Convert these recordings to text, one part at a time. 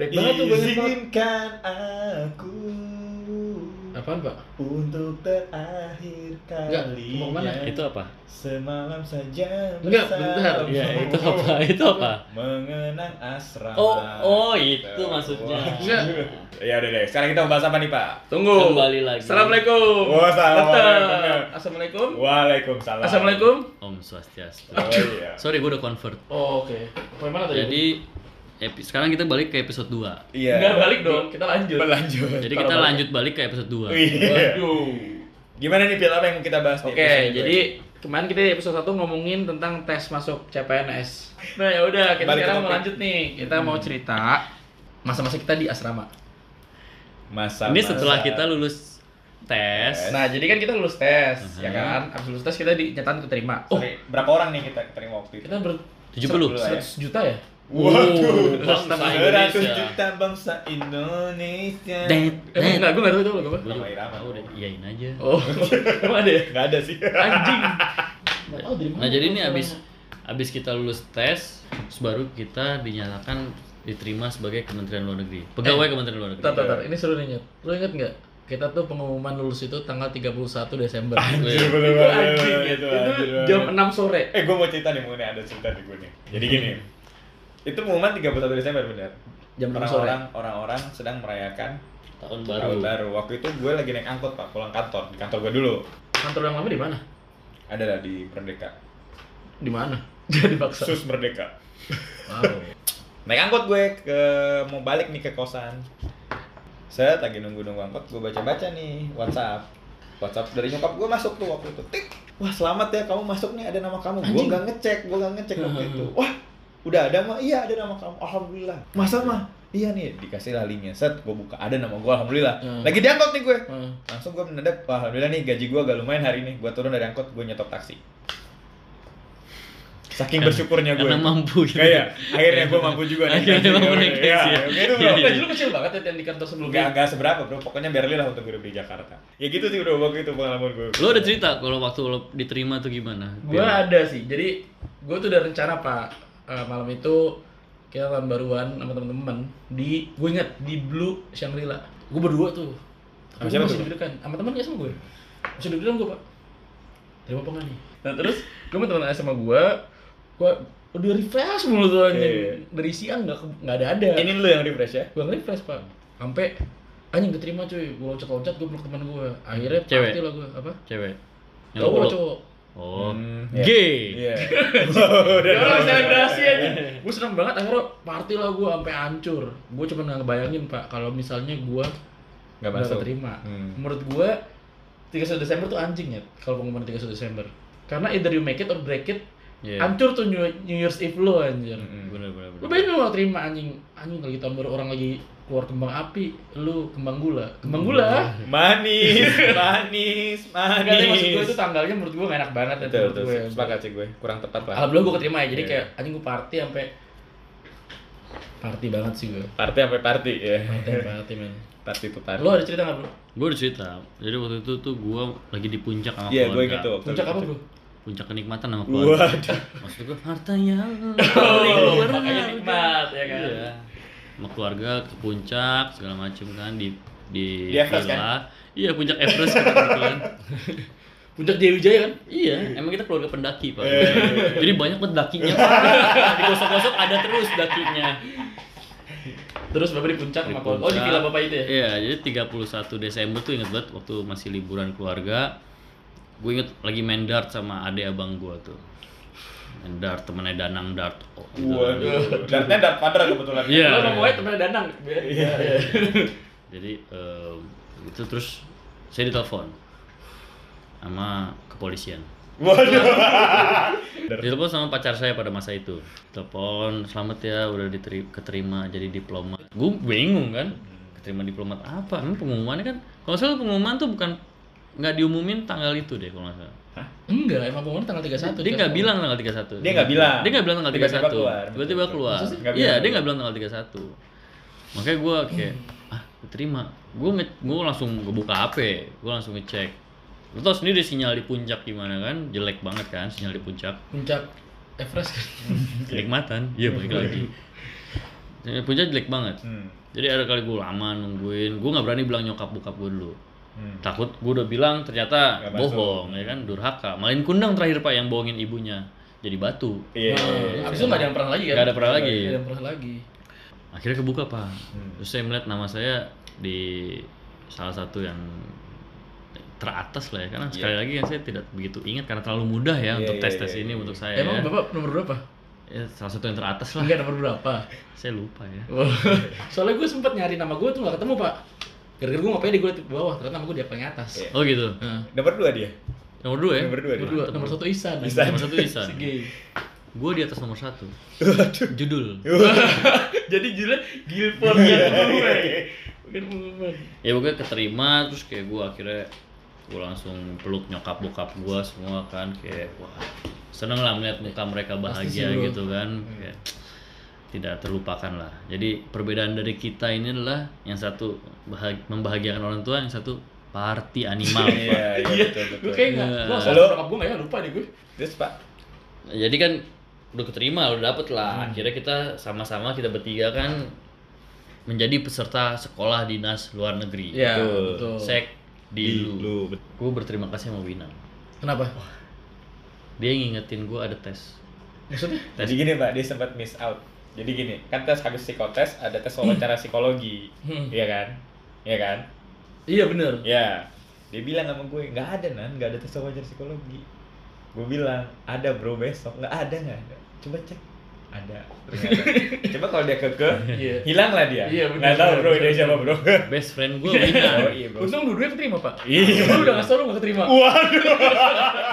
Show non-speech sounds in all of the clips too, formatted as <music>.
Baik banget tuh banyak banget. Izinkan aku Apaan, Pak? untuk terakhir Enggak, mau kemana? kalinya Itu apa? semalam saja Enggak, bentar. Iya, bersamamu <laughs> Ya, itu apa? Itu apa? mengenang asrama. Oh, oh itu maksudnya. Enggak. Ya udah deh. Sekarang kita bahas apa nih Pak? Tunggu. Kembali lagi. Assalamualaikum. Wah, salam. Tetap. Assalamualaikum. Oh, Iya. Waalaikumsalam. Assalamualaikum. Om Swastiastu. Oh, iya. Sorry, gue udah convert. Oh, oke. Sampai mana tadi? Jadi epi- sekarang kita balik ke episode 2. Iya. enggak balik dong, kita lanjut. Berlanjut. Jadi Kalau kita balik- lanjut balik ke episode 2. Iya. Waduh. Gimana nih Pil apa yang kita bahas nih? Oke, episode dua jadi kemarin kita di episode 1 ngomongin tentang tes masuk CPNS. Nah, ya udah, kita Balik sekarang mau ke topik. Hmm. lanjut nih. Kita mau cerita masa-masa kita di asrama. ini? masa Ini setelah kita lulus tes. Nah, jadi kan kita lulus tes, ya Mhm. kan? Abis lulus tes kita dinyatakan keterima. Oh, berapa orang nih kita terima waktu itu? kita ber 70. 100 juta ya? Waduh, bangsa seratus Indonesia. Oh, juta bangsa Indonesia. Dead, Eh, dead. enggak, gue enggak tahu itu lagu apa. Gue juga Rama Irama. tahu deh, iyain aja. <laughs> Oh, emang ada ya? Gak ada sih. Anjing. Nah jadi ini abis abis kita lulus tes, terus baru kita dinyatakan diterima sebagai Kementerian Luar Negeri, pegawai Kementerian Luar Negeri. Tar, tar, tar. Ini seru nih, Nyet. Lu inget nggak? Kita tuh pengumuman lulus itu tanggal 31 Desember. Anjir, Itu bener itu banget, anjing, bener Nyet. banget, bener Itu banget. jam 6 sore. Eh, gue mau cerita nih mengenai ada cerita di gue nih. Jadi gini, itu pengumuman 31 Desember benar. Jam 6 sore. Orang-orang orang-orang sedang merayakan Tahun tahun baru. baru. Waktu itu gue lagi naik angkot pak, pulang kantor di kantor gue dulu. Kantor yang lama di mana? Ada lah di Merdeka. Di mana? Jadi paksa. Sus Merdeka. <laughs> Wow. Naik angkot gue ke mau balik nih ke kosan. Saya lagi nunggu-nunggu angkot, gue baca-baca nih WhatsApp. WhatsApp dari nyokap gue masuk tuh waktu itu. Tik. Wah, selamat ya kamu masuk nih ada nama kamu. Gue Anjing. nggak ngecek, gue nggak ngecek waktu itu. Wah, udah ada mah. Iya, ada nama kamu. Alhamdulillah. Masa mah? Iya nih, dikasih lah linknya. Set, gue buka. Ada nama gue, alhamdulillah. Hmm. Lagi di angkot nih gue. Hmm. Langsung gue mendadak, wah alhamdulillah nih gaji gue agak lumayan hari ini. Gue turun dari angkot, gue nyetok taksi. Saking bersyukurnya gue. Karena mampu. gitu. Kayak akhirnya gue mampu juga nih. Akhirnya mampu naik Iya, gaji. oke itu Iya, bro. iya. Gaji lu kecil banget ya yang di kantor Gak, sebelumnya. gak seberapa bro, pokoknya barely lah untuk gue di Jakarta Ya gitu sih bro, waktu itu pengalaman gue Lo ada cerita kalau waktu lo diterima tuh gimana? Gue Iya. ada sih. Jadi gue tuh udah rencana pak Eh, malam itu kita tahun baruan sama temen-temen di gue inget di Blue Shangri-La. Gue berdua tuh. Sama Tapi siapa gua masih tuh? deg-degan. Sama temen gak sama gue? Masih deg-degan gue pak. Terima apa nggak nih? Nah terus gue sama temen sama gue, gue udah refresh mulu tuh anjing. Iya. Dari siang nggak ke- nggak ada ada. Ini lu yang refresh ya? gue nge-refresh pak sampai anjing keterima cuy gue loncat-loncat gue peluk teman gue akhirnya Cewek? pasti lah gue apa Cewek. Yang lo cowok peluk. cowok Oh. Hmm, iya. Gay. Iya ya Udah orang selebrasi <laughs> aja gue seneng banget akhirnya party lah gue sampai hancur gue cuma nggak ngebayangin pak kalau misalnya gue Gak nggak masuk keterima Hmm. menurut gue 31 Desember tuh anjing ya kalau pengumuman 31 Desember karena either you make it or break it Iya. hancur tuh New, New Year's Eve lo anjir Mm-mm. Bener bener Lu bener. bayangin lu gak terima anjing Anjing lagi tahun baru orang lagi keluar kembang api Lu kembang gula Kembang gula Hmm. Manis, manis, Enggak deh maksud gue manis itu tanggalnya menurut gue gak enak banget dan Betul, menurut betul, gue sepakat sih gue, kurang tepat lah Alhamdulillah gue keterima ya jadi Iya. kayak anjing gue party sampai Party banget sih gue Party sampai party ya Party party men Party itu party Lu ada cerita gak bro? Gue ada cerita. Jadi waktu itu tuh gue lagi di puncak sama Iya, gue keluarga. gitu waktu Puncak itu. apa bro? Puncak kenikmatan sama keluarga. Waduh Maksud gue harta yang <laughs> Oh, berharga. makanya nikmat ya kan Iya. Sama keluarga ke puncak segala macem kan di di, Di Everest, kan? villa. Iya puncak Everest kita kebetulan. <laughs> Puncak Jaya Wijaya kan? iya, emang kita keluarga pendaki pak. Eh. Jadi banyak banget dakinya. Pak. Digosok-gosok ada terus dakinya. Terus bapak di puncak sama keluarga Oh di villa bapak itu ya? Iya, jadi 31 Desember tuh inget banget waktu masih liburan keluarga. Gue inget lagi main dart sama adek abang gue tuh. Main dart temennya Danang dart. Oh, gitu. Waduh Dartnya Dart Padra kebetulan Iya. Lu sama gue temennya Danang Iya jadi eh, itu terus saya ditelepon sama kepolisian Waduh <laughs> ditelepon sama pacar saya pada masa itu telepon selamat ya udah diteri- keterima jadi diplomat gue bingung kan keterima diplomat apa emang pengumumannya kan kalau saya pengumuman tuh bukan nggak diumumin tanggal itu deh kalau nggak salah Enggak, emang pengumuman tanggal 31 dia nggak bilang tanggal 31 Dia nggak bilang. dia nggak bilang tanggal Ah. Tiba-tiba 31 keluar. Hmm, tiba-tiba Betul. keluar Masa sih? Nggak iya bilang. dia nggak bilang tanggal 31 makanya gue kayak ah terima gue nge gue langsung gue buka hp gue langsung ngecek lo tau sendiri sinyal di puncak gimana kan jelek banget kan <laughs> sinyal di puncak Puncak Everest kan? Iya. kenikmatan iya balik lagi Jadi Puja jelek banget. Hmm. Jadi ada kali gue lama nungguin, gue nggak berani bilang nyokap bokap gue dulu. Hmm. Takut gue udah bilang ternyata Nggak masuk. bohong, ya kan durhaka. Malin kundang terakhir pak yang bohongin ibunya jadi batu. Iya. Nah, abis itu nggak ada yang pernah lagi kan? Nggak ada pernah lagi. Nggak ada yang pernah lagi. Akhirnya kebuka pak. Hmm. Terus saya melihat nama saya di salah satu yang teratas lah ya karena sekali lagi kan saya tidak begitu ingat karena terlalu mudah ya Iya, untuk iya, tes tes iya, ini iya. untuk saya. Emang ya. bapak nomor berapa? Ya, salah satu yang teratas lah. Enggak nomor berapa? Oh. Saya lupa ya. Soalnya gue sempet nyari nama gue tuh nggak ketemu pak. Gara-gara gue ngapain di gue di bawah, ternyata nama gue di paling atas. Iya. Oh gitu. Nah, Nomor dua dia. Nomor dua ya. Nomor dua dia. nomor dua, nomor satu Isan. Isan. Nomor satu Isan. Si gay. Gue di atas nomor satu. Waduh. <laughs> Judul. Jadi judulnya Gilford ya gue. Bukan pengumuman. Ya pokoknya keterima terus kayak gue akhirnya gue langsung peluk nyokap bokap gue semua kan kayak wah seneng lah melihat muka mereka Pasti sih, bahagia bro. Hmm. gitu kan kayak tidak terlupakan lah jadi perbedaan dari kita ini adalah yang satu bahag- membahagiakan orang tua yang satu party animal <laughs> Iya, Pak. iya Iya, betul gue betul. kayak nggak. Lo asal Lo- nyokap gue nggak ya lupa deh gue. Terus Pak, jadi kan udah keterima udah dapet lah Hmm. akhirnya kita sama-sama kita bertiga kan menjadi peserta sekolah dinas luar negeri Iya. Betul. Betul. sek Iya, di lu lu gue berterima kasih sama Winang Kenapa? dia ngingetin gue ada tes Maksudnya? Jadi gini Pak, dia sempat miss out. Jadi gini, kan tes habis psikotes ada tes wawancara psikologi. Hmm. Iya kan? Iya kan? Iya bener. Iya. Dia bilang sama gue, nggak ada nan, nggak ada tes wawancara psikologi. Gue bilang, ada bro besok, nggak ada nggak ada. Coba cek, ada. Ternyata. Coba kalau dia keke, Iya. hilang lah dia. Iya, benar, nggak tahu benar, bro, benar. dia siapa bro. best friend gue Winang <laughs> Oh, iya bro. Untung dua-duanya keterima pak. Iya. Lu udah ngasih tau lu nggak keterima. Waduh. <laughs>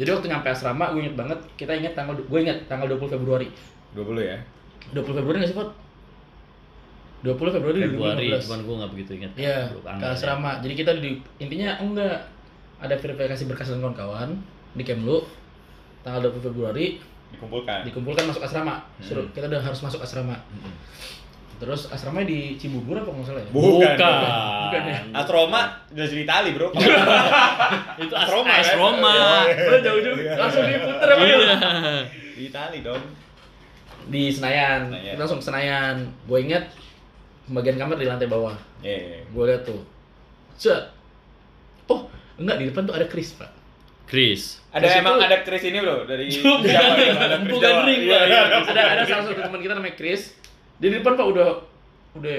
Jadi waktu nyampe asrama gue inget banget. Kita inget tanggal gue inget tanggal 20 Februari. 20 ya? 20 Februari nggak sih Pak? 20 Februari Februari 2015. cuman gue nggak begitu inget Kan Iya, Gua ke kangen. ya. asrama. Jadi kita di intinya enggak ada verifikasi berkas dengan kawan-kawan di Kemlu tanggal 20 Februari Dikumpulkan. dikumpulkan masuk asrama. Suruh kita udah harus masuk asrama. Terus asramanya di Cibubur apa nggak salah ya? bukan, Bukan ya? Nah, Astroma udah jadi tali bro. itu as Asroma, as kan? Roma Lo jauh-jauh langsung diputer apa ya? di tali dong. Di Senayan. Senayan. Kita langsung ke Senayan. Gue inget pembagian kamar di lantai bawah. Iya. Gue lihat tuh. Set. Oh, enggak di depan tuh ada Chris, Pak. Chris Ada Terus emang itu- ada Chris ini bro dari Bukan ring, Ada Chris bukan Jawa. ring, Iya, Pak. iya. ada ada salah satu teman kita namanya Chris dia di depan pak udah udah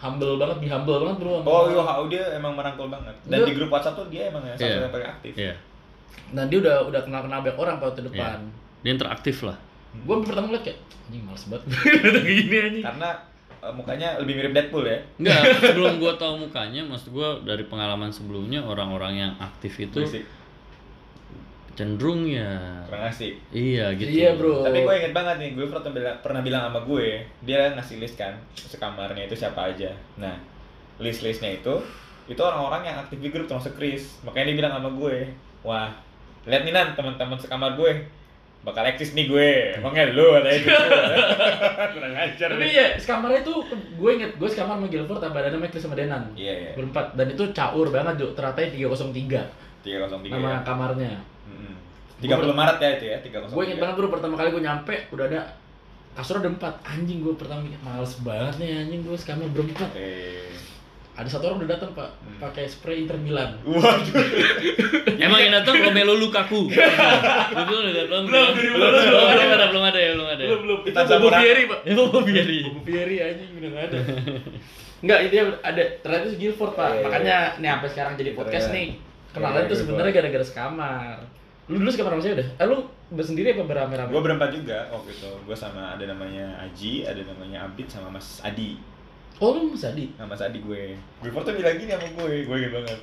humble banget di humble banget bro Oh iya, oh, dia emang merangkul banget. Dan Dia- di grup WhatsApp tuh dia emang yang satu Iya. yang paling aktif. Iya. dan Nah, dia udah udah kenal kenal banyak orang pak di depan Iya. dia interaktif lah Gua gue pertama lihat kayak anjing males banget <laughs> datang gini anjing Karena eh, mukanya lebih mirip Deadpool ya. Enggak, <laughs> sebelum gua tahu mukanya, maksud gua dari pengalaman sebelumnya orang-orang yang aktif itu Berisik, cenderung ya kurang asik. iya gitu. iya bro Tapi gue inget banget nih, gue pernah bilang, pernah bilang sama gue, dia ngasih list kan, sekamarnya itu siapa aja. Nah, list-listnya itu, itu orang-orang yang aktif di grup termasuk Chris. Makanya dia bilang sama gue, wah, lihat nih Nan, teman-teman sekamar gue, bakal eksis nih gue. Emangnya lu katanya gitu. <laughs> Kurang ajar tapi nih. ya sekamarnya tuh gue inget gue sekamar sama Gilbert sama Dana sama Chris sama Denan Iya, iya. berempat dan itu caur banget jo teratanya 303 303 ya. nama kamarnya Mm-mm. 30 Maret ya itu ya, 303. gue inget banget bro pertama kali gue nyampe udah ada kasur ada empat anjing gue pertama mikir males banget nih anjing gue sekamar berempat Eh. ada satu orang udah datang pak pakai spray Inter Milan Waduh. Emang yang datang Romelu Lukaku. Betul udah datang. Belum, belum, belum, ada, belum ada ya, belum ada. ya. belum Kita Zamora. pak Ya Bobo Fieri. Bobo Fieri aja udah nggak ada <laughs> nggak itu ada ternyata itu Gilford pak Iya, iya. makanya nih sampai sekarang jadi podcast Keren. nih kenalan Keren, tuh Gilford. sebenarnya gara-gara sekamar lu dulu sekamar sama siapa dah eh, lu bersendiri apa berame-rame Gue berempat juga waktu itu. Gue sama ada namanya Aji, ada namanya Abid sama Mas Adi. oh lu Mas Adi Nah, Mas Adi gue. Gue tuh bilang gini sama gue, gue gitu banget.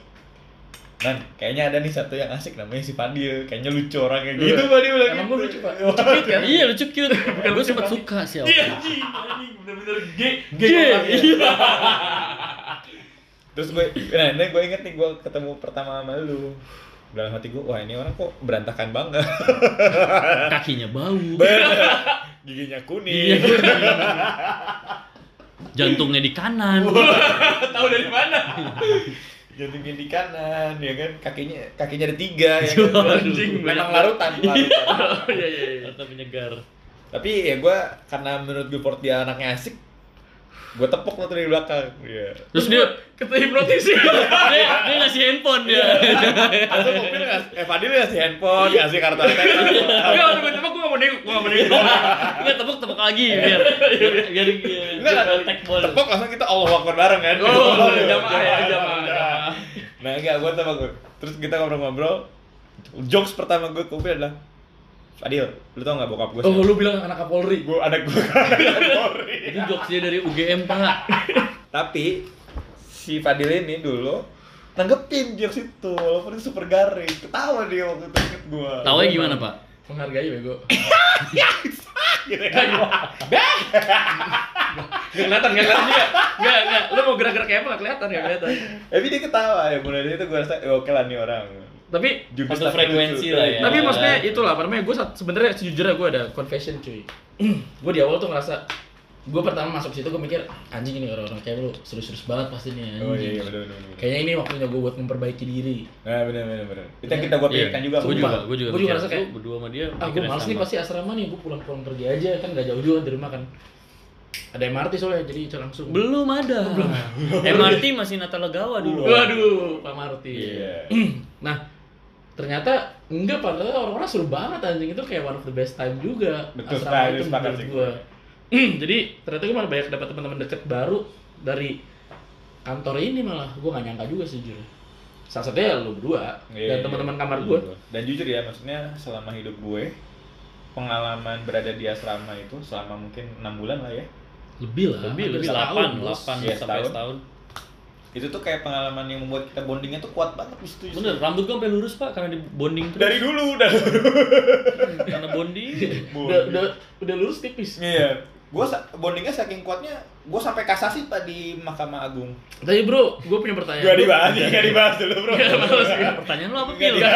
Nan, kayaknya ada nih satu yang asik namanya si Fadil. Kayaknya lucu orangnya Iya. gitu, Fadil bilang Emang gitu. gue lucu, Pak. Wah, Cupit kan Iya lucu cute. Gue sempat suka sih awalnya. Iya, anjing <laughs> anjing bener-bener gay Gay, iya Terus gue, nah ini gue inget nih gue ketemu pertama sama lu. Dalam hati gue, wah ini orang kok berantakan banget. <laughs> Kakinya bau. Giginya Iya. kuning. Jantungnya di kanan. tahu dari mana jantungnya di kanan ya kan kakinya kakinya ada tiga ya kan Waduh. memang larutan larutan oh iya iya iya. Atau penyegar. Tapi ya gue karena menurut Billboard dia anaknya asik, gue tepok lo tuh dari belakang. Iya. Terus dia Kita hipnotis <laughs> dia, dia ngasih handphone dia. Atau mobil ngas- eh Fadil ngasih handphone, ngasih kartu atm. Enggak, waktu gue tembak gue gak mau nengok, gue gak mau nengok Iya, Enggak tepuk-tepuk lagi <laughs> biar biar biar Enggak, biar tag ball. tepok langsung kita Allah Akbar bareng kan. Oh, Jamaah, jamaah ya, jamaah, jamaah. Nah, enggak gua tebak gua. Terus kita ngobrol-ngobrol. Jokes pertama gue ke Upil adalah Fadil, lu tau gak bokap gue Oh, lu bilang anak Kapolri Gue anak gue Kapolri. Itu jokes dia dari UGM, Pak. <laughs> Tapi si Fadil ini dulu nanggepin jokes itu walaupun itu super garing. Ketawa dia waktu itu inget gue. ya? Tawanya gimana, Pak? Menghargai bego Gitu ya. Gak kelihatan, gak kelihatan dia Gak, gak, lu mau gerak-gerak kayak apa gak kelihatan, gak kelihatan Tapi dia ketawa ya mulai dari itu gue rasa "Eh, oke lah nih orang. Tapi, Jurus Satu tapi frekuensi lucu. lah ya. tapi maksudnya itulah, apa namanya, gue sebenernya sejujurnya gue ada confession cuy <clears throat> Gue di awal tuh ngerasa Gue pertama masuk situ gue mikir, anjing ini orang-orang kayak lu serius-serius banget pasti nih Oh anjing iya, iya bener bener. bener. Kayaknya ini waktunya gue buat memperbaiki diri Nah, bener bener bener. Itu yang kita Iya. gua pikirkan Iya, kan juga. Gue juga, Sumpah. gue juga. Gua juga mikir, ngerasa kayak, "Lu berdua sama dia. ah gue mikirnya males nih sama." pasti asrama nih gue pulang-pulang pergi aja kan gak jauh juga dari rumah kan ada MRT soalnya jadi bisa langsung Belum ada. MRT masih Natalegawa dulu. waduh Pak Marti Iya. <clears throat> nah ternyata enggak padahal orang-orang seru banget anjing itu kayak one of the best time juga Betul asrama sekali, itu sepakat menurut sih gue <clears throat> jadi ternyata gue malah banyak dapat teman-teman deket baru dari kantor ini malah gue gak nyangka juga sih jujur salah satunya ya lu berdua Iya, dan teman-teman iya. kamar gue Dan jujur ya, maksudnya selama hidup gue pengalaman berada di asrama itu selama mungkin enam bulan lah ya. lebih lah Lebih lebih hampir setahun, 8, bos. 8 Iya, sampai setahun. setahun. Itu tuh kayak pengalaman yang membuat kita bondingnya tuh kuat banget di situ. justru. Bener, rambut gue sampai lurus, Pak, karena di bonding terus. Dari dulu udah. karena bonding. udah, udah, udah lurus tipis Iya. Gue bondingnya saking kuatnya, gue sampai kasasi pak di Mahkamah Agung. Tapi bro, gue punya Eh. pertanyaan. Gak <laughs> dibahas, Iya. gak dibahas dulu bro. Iya, Nggak, males <laughs> gua. Pertanyaan lu apa, Pil? iya.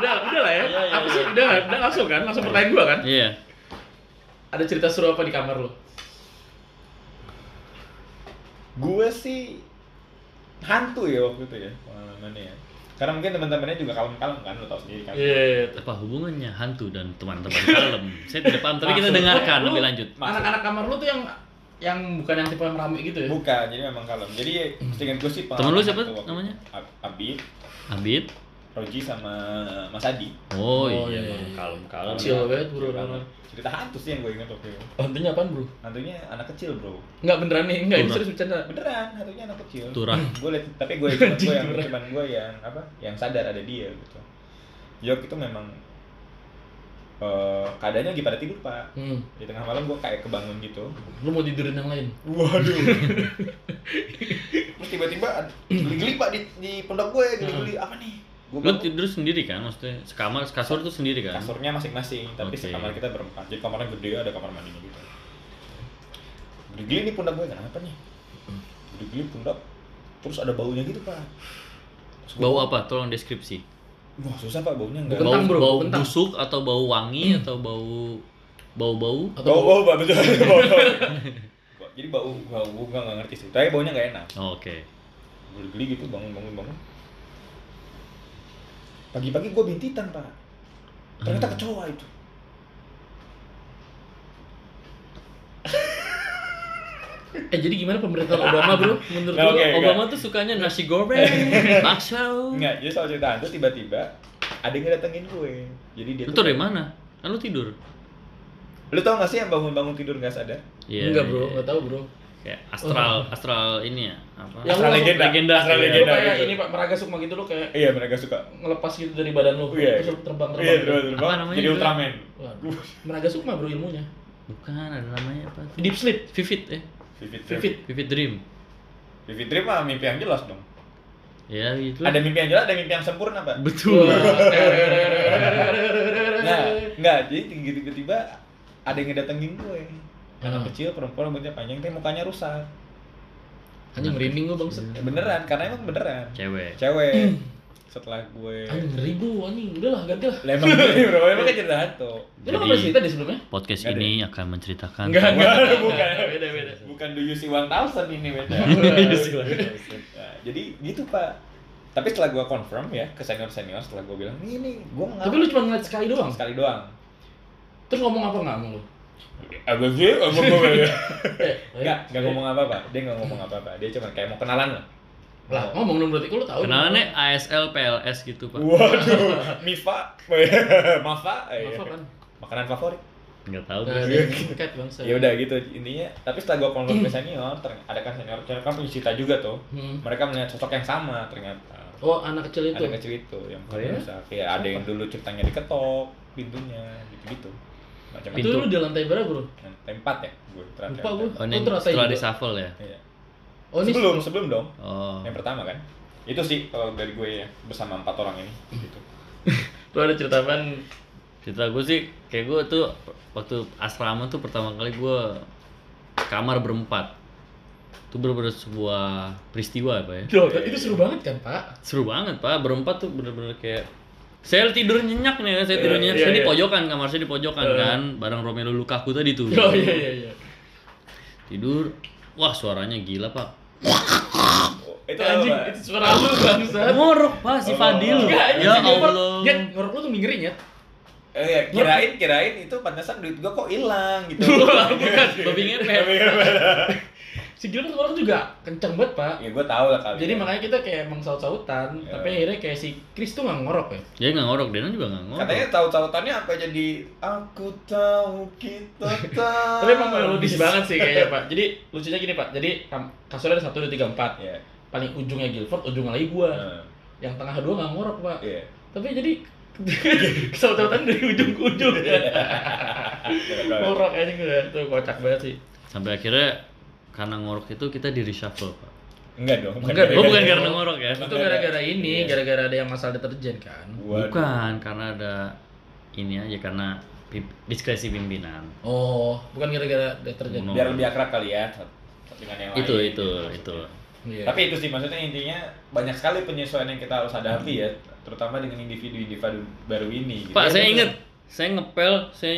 Udah, udah lah ya. Iya, iya, Apa sih? iya. Udah, udah langsung kan? Langsung pertanyaan gue kan? Iya. Ada cerita seru apa di kamar lo? gue sih hantu ya waktu itu ya pengalamannya ya. Karena mungkin teman-temannya juga kalem-kalem kan, lo tau sendiri kan. Iya. Apa hubungannya hantu dan teman-teman kalem? Saya tidak paham, tapi kita Maksudnya dengarkan lu- lebih lanjut. Masuk. Anak-anak kamar lo tuh yang yang bukan yang tipe yang rame gitu ya? Bukan, jadi memang kalem. Jadi ya, dengan gue sih Temen lu siapa pengalaman waktu namanya? Ab- Abi, Abid. Roji sama Mas Adi. Oh, Oh, iya, iya, emang iya. kalem-kalem. Chill Kalem. banget, bro. Chill banget. Cerita hantu sih yang gue ingat waktu itu. Hantunya apaan bro? Hantunya anak kecil bro. Enggak beneran nih, enggak ini Turah. serius bercanda. Beneran, hantunya anak kecil. Turah. Gue liat, tapi gue cuman gue yang cuman gue yang apa? Yang sadar ada dia gitu. York itu memang eh keadaannya lagi pada tidur pak. Hmm. Di tengah malam gue kayak kebangun gitu. Lu mau tidurin yang lain? Waduh. Terus tiba-tiba ada geli-geli pak di, di pondok gue geli-geli apa nih? Gue Lu tidur sendiri kan? Maksudnya sekamar, kasur tuh sendiri kan? kasurnya masing-masing, tapi Oke. sekamar kita berempat. Jadi kamarnya gede ada kamar mandinya gitu. Geli-geli nih pundak gue kenapa nih? Geli-geli pundak terus ada baunya gitu pak. Terus gua- Bau apa? Tolong deskripsi. Wah susah pak baunya enggak. Bukan- Bau, Kentang, bro, bau kentang. busuk atau bau wangi atau bau bau-bau? Bau bau pak betul <laughs> bau bau. Jadi bau bau gue nggak ngerti sih. Tapi baunya nggak enak. Oh, Oke. geli-geli gitu bangun bangun bangun pagi-pagi gue bintitan pak ternyata Hmm. kecoa itu Eh jadi gimana pemerintahan Obama bro? Menurut Nah, lo? oke. Obama tuh sukanya nasi goreng, <laughs> bakso. enggak jadi soal cerita hantu tiba-tiba ada yang datengin gue jadi dia Lu tuh- tuh dari mana? Kan lu tidur. lu tau gak sih yang bangun-bangun tidur gak sadar Iya, Enggak bro, iya. enggak tahu bro. Kayak astral, astral ini ya, apa? Yang Astral lu- legenda. legenda. Astral iya. Lu legenda. kayak gitu. ini pak meraga sukma gitu lo kayak iya mereka suka ngelepas gitu dari badan lo, Iya. terus iya terbang-terbang. gitu. terbang Apa terbang namanya jadi itu? Ultraman Waduh, meraga sukma bro ilmunya. Bukan, ada namanya apa? tuh? Deep sleep. Vivid ya. Vivid Dream Vivid. Vivid Dream. Vivid Dream mah mimpi yang jelas dong Ya gitu. ada mimpi yang jelas ada mimpi yang sempurna pak Betul. <laughs> nah enggak jadi tiba-tiba ada yang ngedatengin gue Hmm. anak kecil perempuan rambutnya panjang tapi mukanya rusak Anjing merinding gua bangsa. Ya, beneran karena emang beneran Cewek. <clears throat> cewek setelah gue Anjing ngeri gua anjing. Udahlah ganti lah. Lah, emang gue bro emang kan cerita hantu Lu nggak pernah Jadi- cerita di sebelumnya? Podcast Nggak ini akan menceritakan. Enggak, enggak. Bukan. Beda, beda. Iya, bukan do you see 1000 ini <laughs> beda Nah, jadi gitu pak tapi setelah gue confirm ya ke senior senior setelah gue bilang ini nih, gue Tapi ngalamin lu cuma ngeliat sekali doang. sekali doang Terus ngomong Eh, apa enggak sama lu? Apa sih? Apa ya? <laughs> gue? Enggak, Eh, Enggak, enggak ngomong Iya. apa-apa. Dia enggak ngomong apa-apa. Dia cuma kayak mau kenalan lah. eh, Lah, ngomong dong berarti kok lu tahu. Kenalannya ASL PLS gitu, Uh. Pak. <laughs> Waduh, Mifa, eh. Mafa, Apa kan? makanan favorit. Enggak tahu Nah, gue. dia Cat bangsa. Iya, Ya udah gitu intinya. Tapi setelah gua konvers ke senior, ternyata ada kan senior, senior kan punya cita juga tuh. Hmm. Mereka melihat sosok yang sama ternyata. Oh, anak kecil itu. Ada kecil itu yang Oh, iya? berusaha. Kayak ada yang dulu ceritanya diketok pintunya gitu-gitu. Macam Itu Pintu. lu di lantai berapa, Bro? tempat ya, gue terakhir. Lupa gua. Oh, ini Oh, teratai setelah juga. di shuffle ya. Iya. Oh, ini Sebelum sebelum dong. Oh. Yang pertama kan. Itu sih kalau dari gue ya bersama empat orang ini. <clears throat> Gitu. lu ada cerita apaan? Cerita gue sih kayak gue tuh waktu asrama tuh pertama kali gue kamar berempat. Itu bener-bener sebuah peristiwa apa ya? Loh, itu seru banget kan, Pak? Seru banget, Pak. Berempat tuh bener-bener kayak saya tidur nyenyak nih, saya tidur Iya, nyenyak. iya, saya di iya. pojokan, kamar saya di pojokan Iya. kan, bareng Romelu Lukaku tadi tuh. Oh, iya iya iya. Tidur, wah suaranya gila pak. Oh, itu Eh, Anjing, apa? itu suara lu bangsat. Ngorok pak si Oh. Fadil. Enggak, anjing, Ya si Gilbert. Nyet, Allah. ngorok lu tuh minggirnya, <laughs> Nyet. Eh, ya, kirain kirain itu pantesan duit gua kok hilang gitu. <laughs> Wah, Bukan, babi ngepet. Si Gilbert ngorok juga kenceng banget, Pak. ya gua tahu lah kali. Jadi ya. makanya kita kayak emang saut-sautan, Iya. tapi akhirnya kayak si Chris tuh nggak ngorok ya. Dia nggak ngorok, Dena juga nggak ngorok. katanya tahu tautannya apa jadi aku tahu kita tahu. Iya. Tapi emang melodis banget sih kayaknya <laughs> Pak. Jadi lucunya gini Pak, jadi kam- kasurnya ada satu, dua, tiga, empat. Iya. Paling ujungnya Gilbert, ujung lagi gua. Nah, Yang tengah dua nggak ngorok Pak. Iya. Tapi jadi <laughs> kesaut-sautan dari ujung ke ujung. ya. ngorok aja gitu ya. Tuh kocak banget sih. Sampai akhirnya karena ngorok itu kita di reshuffle pak. Enggak dong. Enggak Oh dong. bukan karena ngorok ya? Itu gara-gara ini, gara-gara ada yang masalah deterjen kan. Waduh. Bukan karena ada ini aja karena pim- diskresi pimpinan. Oh, bukan gara-gara deterjen. No. Biar lebih akrab kali ya. Dengan yang Itu lain, itu gitu itu. maksudnya. Iya. Tapi itu sih maksudnya intinya banyak sekali penyesuaian yang kita harus hadapi ya, terutama dengan individu-individu baru ini. gitu. Pak saya betul. inget, saya ngepel, saya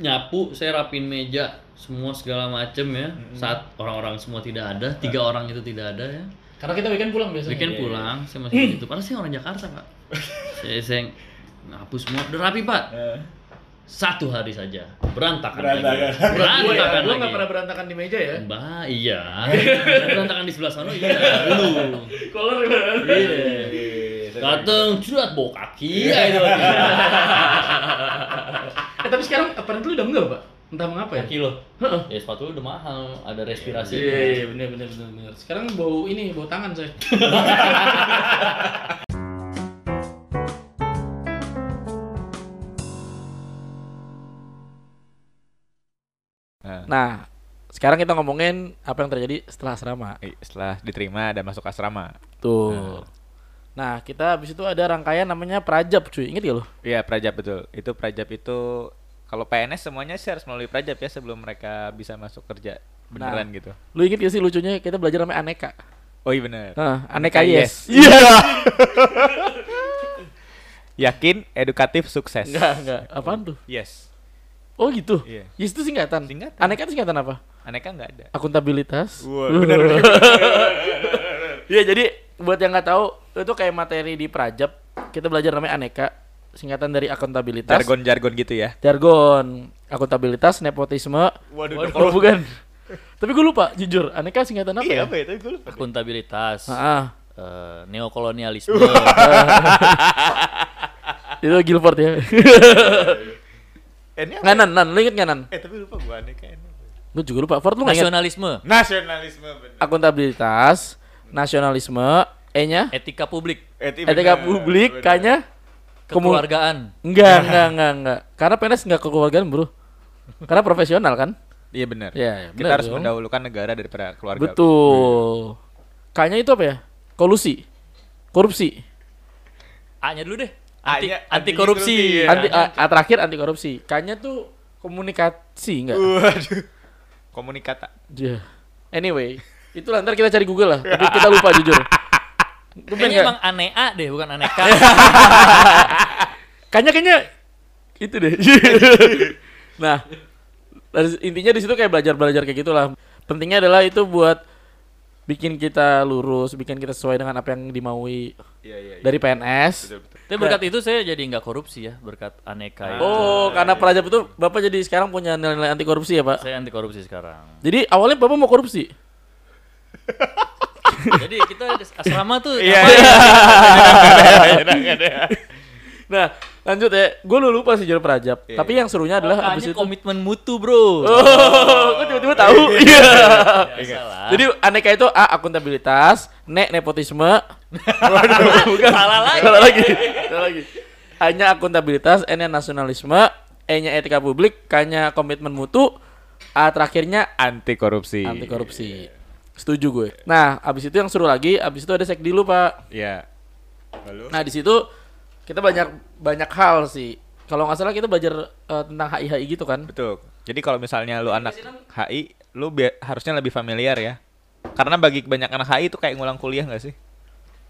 nyapu, saya rapin meja, semua segala macem ya. Mm-mm. Saat orang-orang semua tidak ada, tiga orang itu tidak ada ya. karena kita weekend pulang biasanya. Weekend Iya, pulang, saya masih gitu. Padahal saya orang Jakarta, Pak. saya saya ngapus semua udah rapi, Pak. Eh, Satu hari saja berantakan, Berantakan. lagi. Gua <laughs> Berantakan ya, gua lagi. nggak pernah berantakan di meja ya. Mbak, iya. berantakan di sebelah sana iya dulu. Kolor berantakan. Iya. iya, Dateng curat bawa kaki ya itu. Iya. Eh, tapi sekarang aparat lu udah enggak, Pak? Entah mengapa ya? Kaki lo. Heeh. Ya sepatu lu udah mahal, ada respirasi. Iya, iya, iya, bener, bener, bener, bener. Sekarang bau ini, bau tangan saya. Nah, sekarang kita ngomongin apa yang terjadi setelah asrama. Eh, setelah diterima dan masuk asrama. Tuh. Nah, kita habis itu ada rangkaian namanya Prajab, cuy. Ingat gak lo? Iya, Prajab betul. Itu Prajab itu kalau PNS semuanya sih harus melalui Prajab ya sebelum mereka bisa masuk kerja beneran gitu. Lu inget gak sih lucunya kita belajar namanya aneka? Oh iya bener. Nah, aneka yes. Iya. Yakin, edukatif, sukses. Enggak, enggak. Apaan tuh? Yes. Oh gitu? Iya. Yes itu singkatan? Singkatan. Aneka itu singkatan apa? Aneka nggak ada. akuntabilitas. Wah, benar, benar, Iya, jadi buat yang nggak tahu, itu kayak materi di Prajab, kita belajar namanya aneka, singkatan dari akuntabilitas. Jargon-jargon gitu ya. Jargon, akuntabilitas, nepotisme. Waduh, oh, bukan. Tapi gue lupa, jujur, aneka singkatan apa? ya? ya? Tapi gue lupa. akuntabilitas, Ah, eh, neokolonialisme, ah. itu Gilbert <laughs> ya. Eh, ini apa? nganan, nan, lu inget nganan? Eh, tapi lupa gue aneka ini. Gue juga lupa, Ford lu nggak inget? nasionalisme, Nasionalisme bener. Akuntabilitas, nasionalisme, E-nya, etika publik, Eh, tapi etika bener, publik, bener. K-nya, kemu- kekeluargaan. Enggak, enggak, enggak, enggak. Karena PNS enggak kekeluargaan, Bro. Karena profesional kan? Iya benar. Iya, iya, Kita benar harus dong. mendahulukan negara daripada keluarga. Betul. Kayaknya itu apa ya? Kolusi. Korupsi. A-nya dulu deh. Anti, A-nya anti korupsi. anti-korupsi. Iya, Anti a- a- terakhir anti korupsi. Kayaknya tuh komunikasi enggak? Waduh. Komunikata. Iya. Anyway, itu lantar kita cari Google lah. Tapi kita lupa jujur. Lu pengen Kayaknya nggak? emang anea deh, bukan aneka. Kayaknya kayaknya itu <laughs> deh. nah, dari- intinya di situ kayak belajar-belajar kayak gitulah. Pentingnya adalah itu buat bikin kita lurus, bikin kita sesuai dengan apa yang dimaui Iya, iya. dari PNS. betul. Nah. Tapi berkat itu saya jadi nggak korupsi ya, berkat aneka itu. Oh, karena Prajab itu Bapak jadi sekarang punya nilai-nilai anti korupsi ya, Pak? Saya anti korupsi sekarang. Jadi awalnya Bapak mau korupsi. jadi kita di asrama tuh Iya, ngapain? ya? Iya, Nah, lanjut ya. Gue lu lupa sih jual Prajab. Iya, Tapi yang Ah, serunya adalah Makanya abis itu. komitmen mutu, Bro. <laughs> Oh, gue tiba-tiba tahu. Iya. <laughs> Salah. Jadi aneka itu A akuntabilitas, ne nepotisme, bukan. Salah lagi. salah lagi, salah lagi. Hanya akuntabilitas, N-nya nasionalisme, E-nya etika publik, K-nya komitmen mutu, A terakhirnya Anti korupsi. anti korupsi. Setuju gue. Nah, abis itu yang seru lagi, abis itu ada sekdi lu pak. Iya. Nah di situ kita banyak banyak hal sih. Kalau nggak salah kita belajar eh, tentang HI HI gitu kan. Betul. Jadi kalau misalnya lu anak HI, lu bi- harusnya lebih familiar ya. Karena bagi banyak anak HI itu kayak ngulang kuliah nggak sih?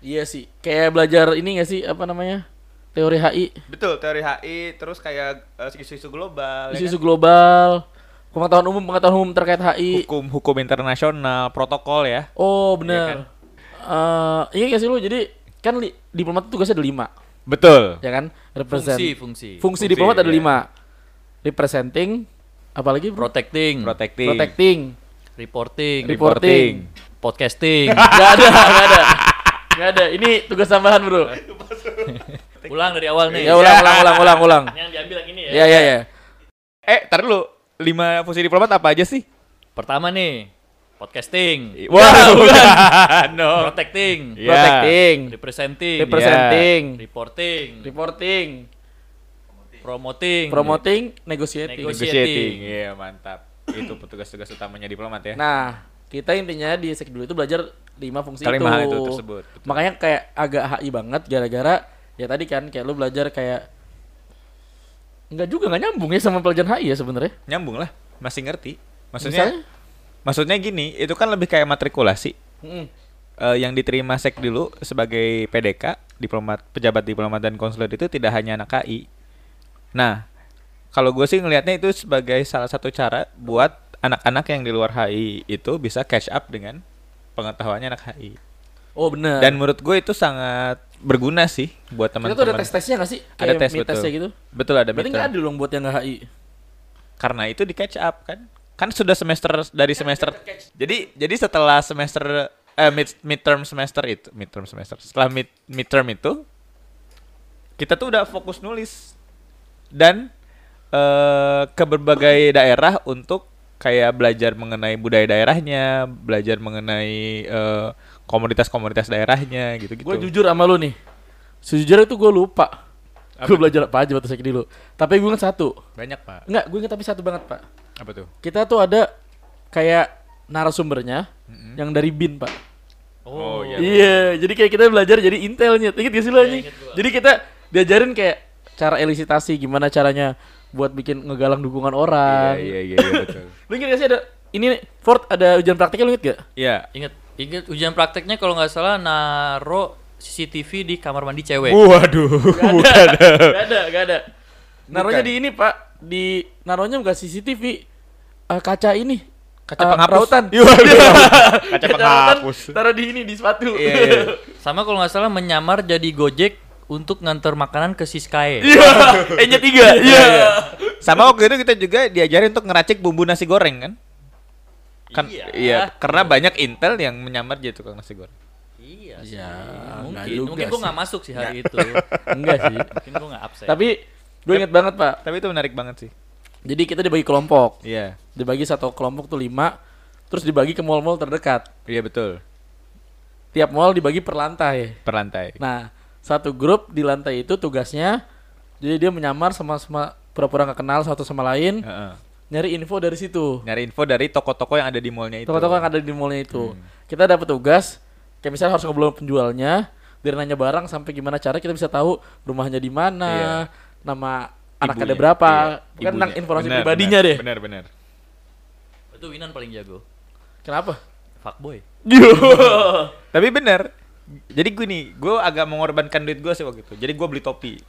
Iya sih. Kayak belajar ini nggak sih apa namanya teori HI, Betul, teori HI terus kayak eh, isu-isu global, ya kan? isu-isu global, pengetahuan umum pengetahuan umum terkait HI. hukum hukum internasional, protokol ya. Oh benar. Eh, Iya nggak sih lu jadi kan li- diplomat itu tugasnya ada lima, Betul. ya kan? Represent. Fungsi, Fungsi, fungsi. fungsi Fungsi, diplomat ada iya. lima. Representing, apalagi bro? Protecting, Protecting. protecting, reporting, reporting. podcasting. Gak ada, gak ada. Gak ada. Ini tugas tambahan, Bro. Ulang dari awal nih. Ya ulang, ulang, ulang, ulang, ulang. Yang diambil yang ini ya. Ya, ya, ya. Eh, tar dulu. Lima fungsi diplomat apa aja sih? Pertama nih, podcasting, Wah, <laughs> bukan. no. protecting, Iya. Protecting, representing, representing, reporting, reporting, promoting, promoting, negotiating. Negosiating. Negotiating. Iya, mantap. Itu petugas-tugas utamanya diplomat ya. Nah, kita intinya di sek dulu itu belajar lima fungsi Kelima itu. itu tersebut, betul. Makanya kayak agak HI banget gara-gara ya tadi kan kayak lu belajar kayak Enggak juga nggak nyambung ya sama pelajaran HI ya sebenarnya. Nyambung lah, masih ngerti. Maksudnya Misalnya? Maksudnya gini, itu kan lebih kayak matrikulasi. Mm-mm. Eh, yang diterima sek dulu sebagai PDK, diplomat, pejabat diplomat dan konsuler itu tidak hanya anak KI. Nah, kalau gue sih ngelihatnya itu sebagai salah satu cara buat anak-anak yang di luar HI itu bisa catch up dengan pengetahuannya anak HI. Oh benar. Dan menurut gue itu sangat berguna sih buat kita teman-teman. tuh ada tes-tesnya nggak sih? Ada Kayak tes mid betul. testnya gitu. Betul ada Berarti mid nggak ada dong buat yang nggak HI. karena itu di catch up kan kan sudah semester dari semester jadi jadi setelah semester eh mid midterm semester itu midterm semester setelah mid midterm itu kita tuh udah fokus nulis dan eh ke berbagai daerah untuk kayak belajar mengenai budaya daerahnya belajar mengenai eh, komunitas-komunitas daerahnya gitu-gitu Gue jujur sama lu nih. Sejujurnya itu gue lupa. Gue belajar apa aja waktu sakit dulu. Tapi gue inget satu. banyak pak Enggak, gue inget tapi satu banget pak. apa tuh Kita tuh ada kayak narasumbernya yang dari bin pak. oh, iya Iya, jadi kayak kita belajar jadi intelnya. Ingat gak sih lo anjing? Jadi kita diajarin kayak cara elisitasi, gimana caranya buat bikin ngegalang dukungan orang. iya iya iya, betul Lu inget gak sih ada ini nih, Ford ada ujian praktiknya lu inget gak? iya Ingat, ingat ujian prakteknya kalau nggak salah naro CCTV di kamar mandi cewek. waduh <laughs> bukan Gak ada, gak ada. Naruhnya di ini pak, di naruhnya bukan CCTV, eh, kaca ini, Kaca Eh, penghapus. rautan. Iya, waduh. Kaca rautan, penghapus. Taruh di ini di sepatu. Iya, iya. Sama kalau nggak salah menyamar jadi Gojek untuk nganter makanan ke E. Siskae. <laughs> N-nya tiga. Iya. Sama waktu itu kita juga diajarin untuk ngeracik bumbu nasi goreng kan? Kan iya, karena banyak intel yang menyamar jadi tukang nasi goreng. Iya, sih. Ya, nggak mungkin. juga Mungkin gue sih. nggak masuk sih hari <laughs> itu. Enggak sih. Mungkin gue nggak absen. Tapi gue inget banget pak. Tapi itu menarik banget sih. Jadi kita dibagi kelompok, Iya. dibagi satu kelompok tuh lima, terus dibagi ke mall-mall terdekat. Iya betul. Tiap mall dibagi per lantai. Per lantai. Nah, satu grup di lantai itu tugasnya, jadi dia menyamar sama sama pura-pura nggak kenal satu sama lain, Heeh. nyari info dari situ. Nyari info dari toko-toko yang ada di mallnya itu. Toko-toko yang ada di mallnya itu. Hmm. Kita dapat tugas, kayak misalnya harus ngobrol sama penjualnya, dari nanya barang sampai gimana cara kita bisa tahu rumahnya di mana, nama anak ada Iya. Ibunya. berapa, Iya, kan tentang ibunya. informasi Benar, pribadinya benar, deh. Benar benar. itu Winan paling jago. Kenapa? Iya. Fuckboy. <laughs> Tapi benar. Jadi gue nih, gue agak mengorbankan duit gue sih waktu itu. Jadi gue beli topi.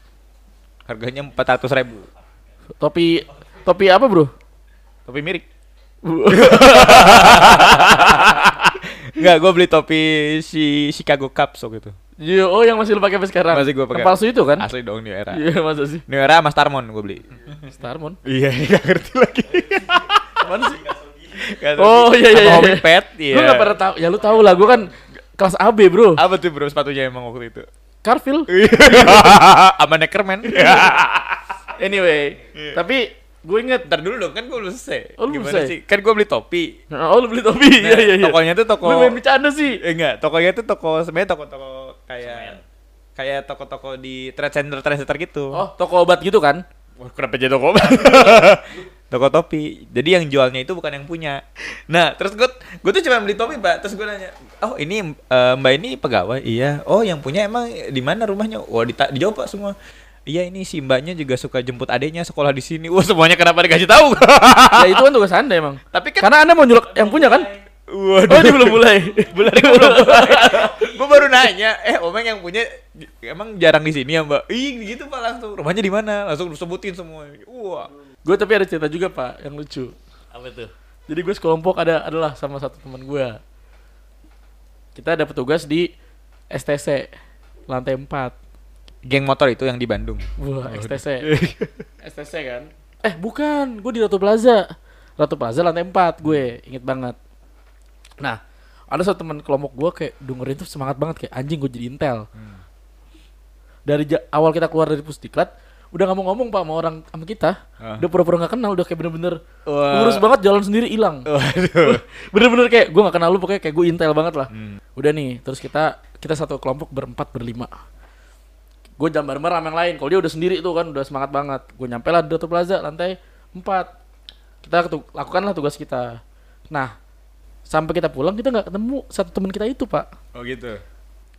Harganya 400 ribu. Topi topi apa, Bro? Topi <laughs> miring. Enggak, gue beli topi si Chicago Cubs waktu itu. Yo, oh yang masih lu pakai sampai sekarang. Masih gua pakai. Yang palsu itu kan? Asli dong New Era. Iya, masa sih? New Era sama Starmon gue beli. Starmon. <laughs> Iya, gak ngerti lagi. Apaan sih? Gak tahu. Oh iya iya Sama iya. Hobbit Pet, iya. Lu enggak pernah tahu. Ya lu tahu lah gua kan kelas AB, Bro. Apa tuh bro sepatunya emang waktu itu? Carfil. Iya. Sama Neckerman. Anyway, tapi gue Iya. inget Ntar dulu dong, kan gue belum selesai. Oh, lu belum Gimana selesai? sih? Kan gue beli topi. Nah, oh lu beli topi. Iya Nah, iya iya. Tokonya tuh toko Lu main bercanda sih. Eh, enggak, tokonya tuh toko sebenarnya toko-toko kayak kayak toko-toko di trade center trade center gitu. Oh, toko obat gitu kan? Wah, kenapa jadi toko <laughs> toko topi. Jadi yang jualnya itu bukan yang punya. Nah, terus gue gue tuh cuma beli topi, Mbak. Terus gue nanya, "Oh, ini eh, Mbak ini pegawai?" "Iya." "Oh, yang punya emang di mana rumahnya?" "Wah, di dijawab Pak semua." Iya ini si mbaknya juga suka jemput adiknya sekolah di sini. Wah semuanya kenapa dikasih tahu? <laughs> ya itu kan tugas Anda emang. Tapi Ah, kan Karena Anda mau nyulok yang punya kan? Waduh. Oh, ini belum <laughs> mulai. Belum belum. gue baru nanya eh omeng yang punya emang jarang di sini ya mbak ih gitu pak langsung rumahnya di mana langsung sebutin semua wah Gue tapi ada cerita juga, Pak, yang lucu. Apa tuh? Jadi gue sekelompok ada adalah sama satu teman gue. Kita ada petugas di STC lantai 4. geng motor itu yang di Bandung Wah, <laughs> STC. STC kan? Eh, bukan. Gue di Ratu Plaza. Ratu Plaza lantai 4 gue. Ingat banget. Nah, ada satu teman kelompok gue kayak dengerin tuh semangat banget kayak anjing gue jadi intel. Hmm. Dari ja- awal kita keluar dari Pusdiklat, udah nggak mau ngomong Pak sama orang sama kita. Udah pura-pura nggak kenal, udah kayak bener-bener Wah. lurus banget jalan sendiri hilang. waduh Hmm. Bener-bener kayak gue gak kenal lu pokoknya kayak gue intel banget lah. Udah nih, terus kita kita satu kelompok berempat berlima. Gue jam bareng sama yang lain. Kalau dia udah sendiri tuh kan udah semangat banget. Gue nyampe lah di Datu Plaza lantai 4. Kita ketu- lakukanlah tugas kita. Nah, sampai kita pulang kita nggak ketemu satu teman kita itu, Pak. oh gitu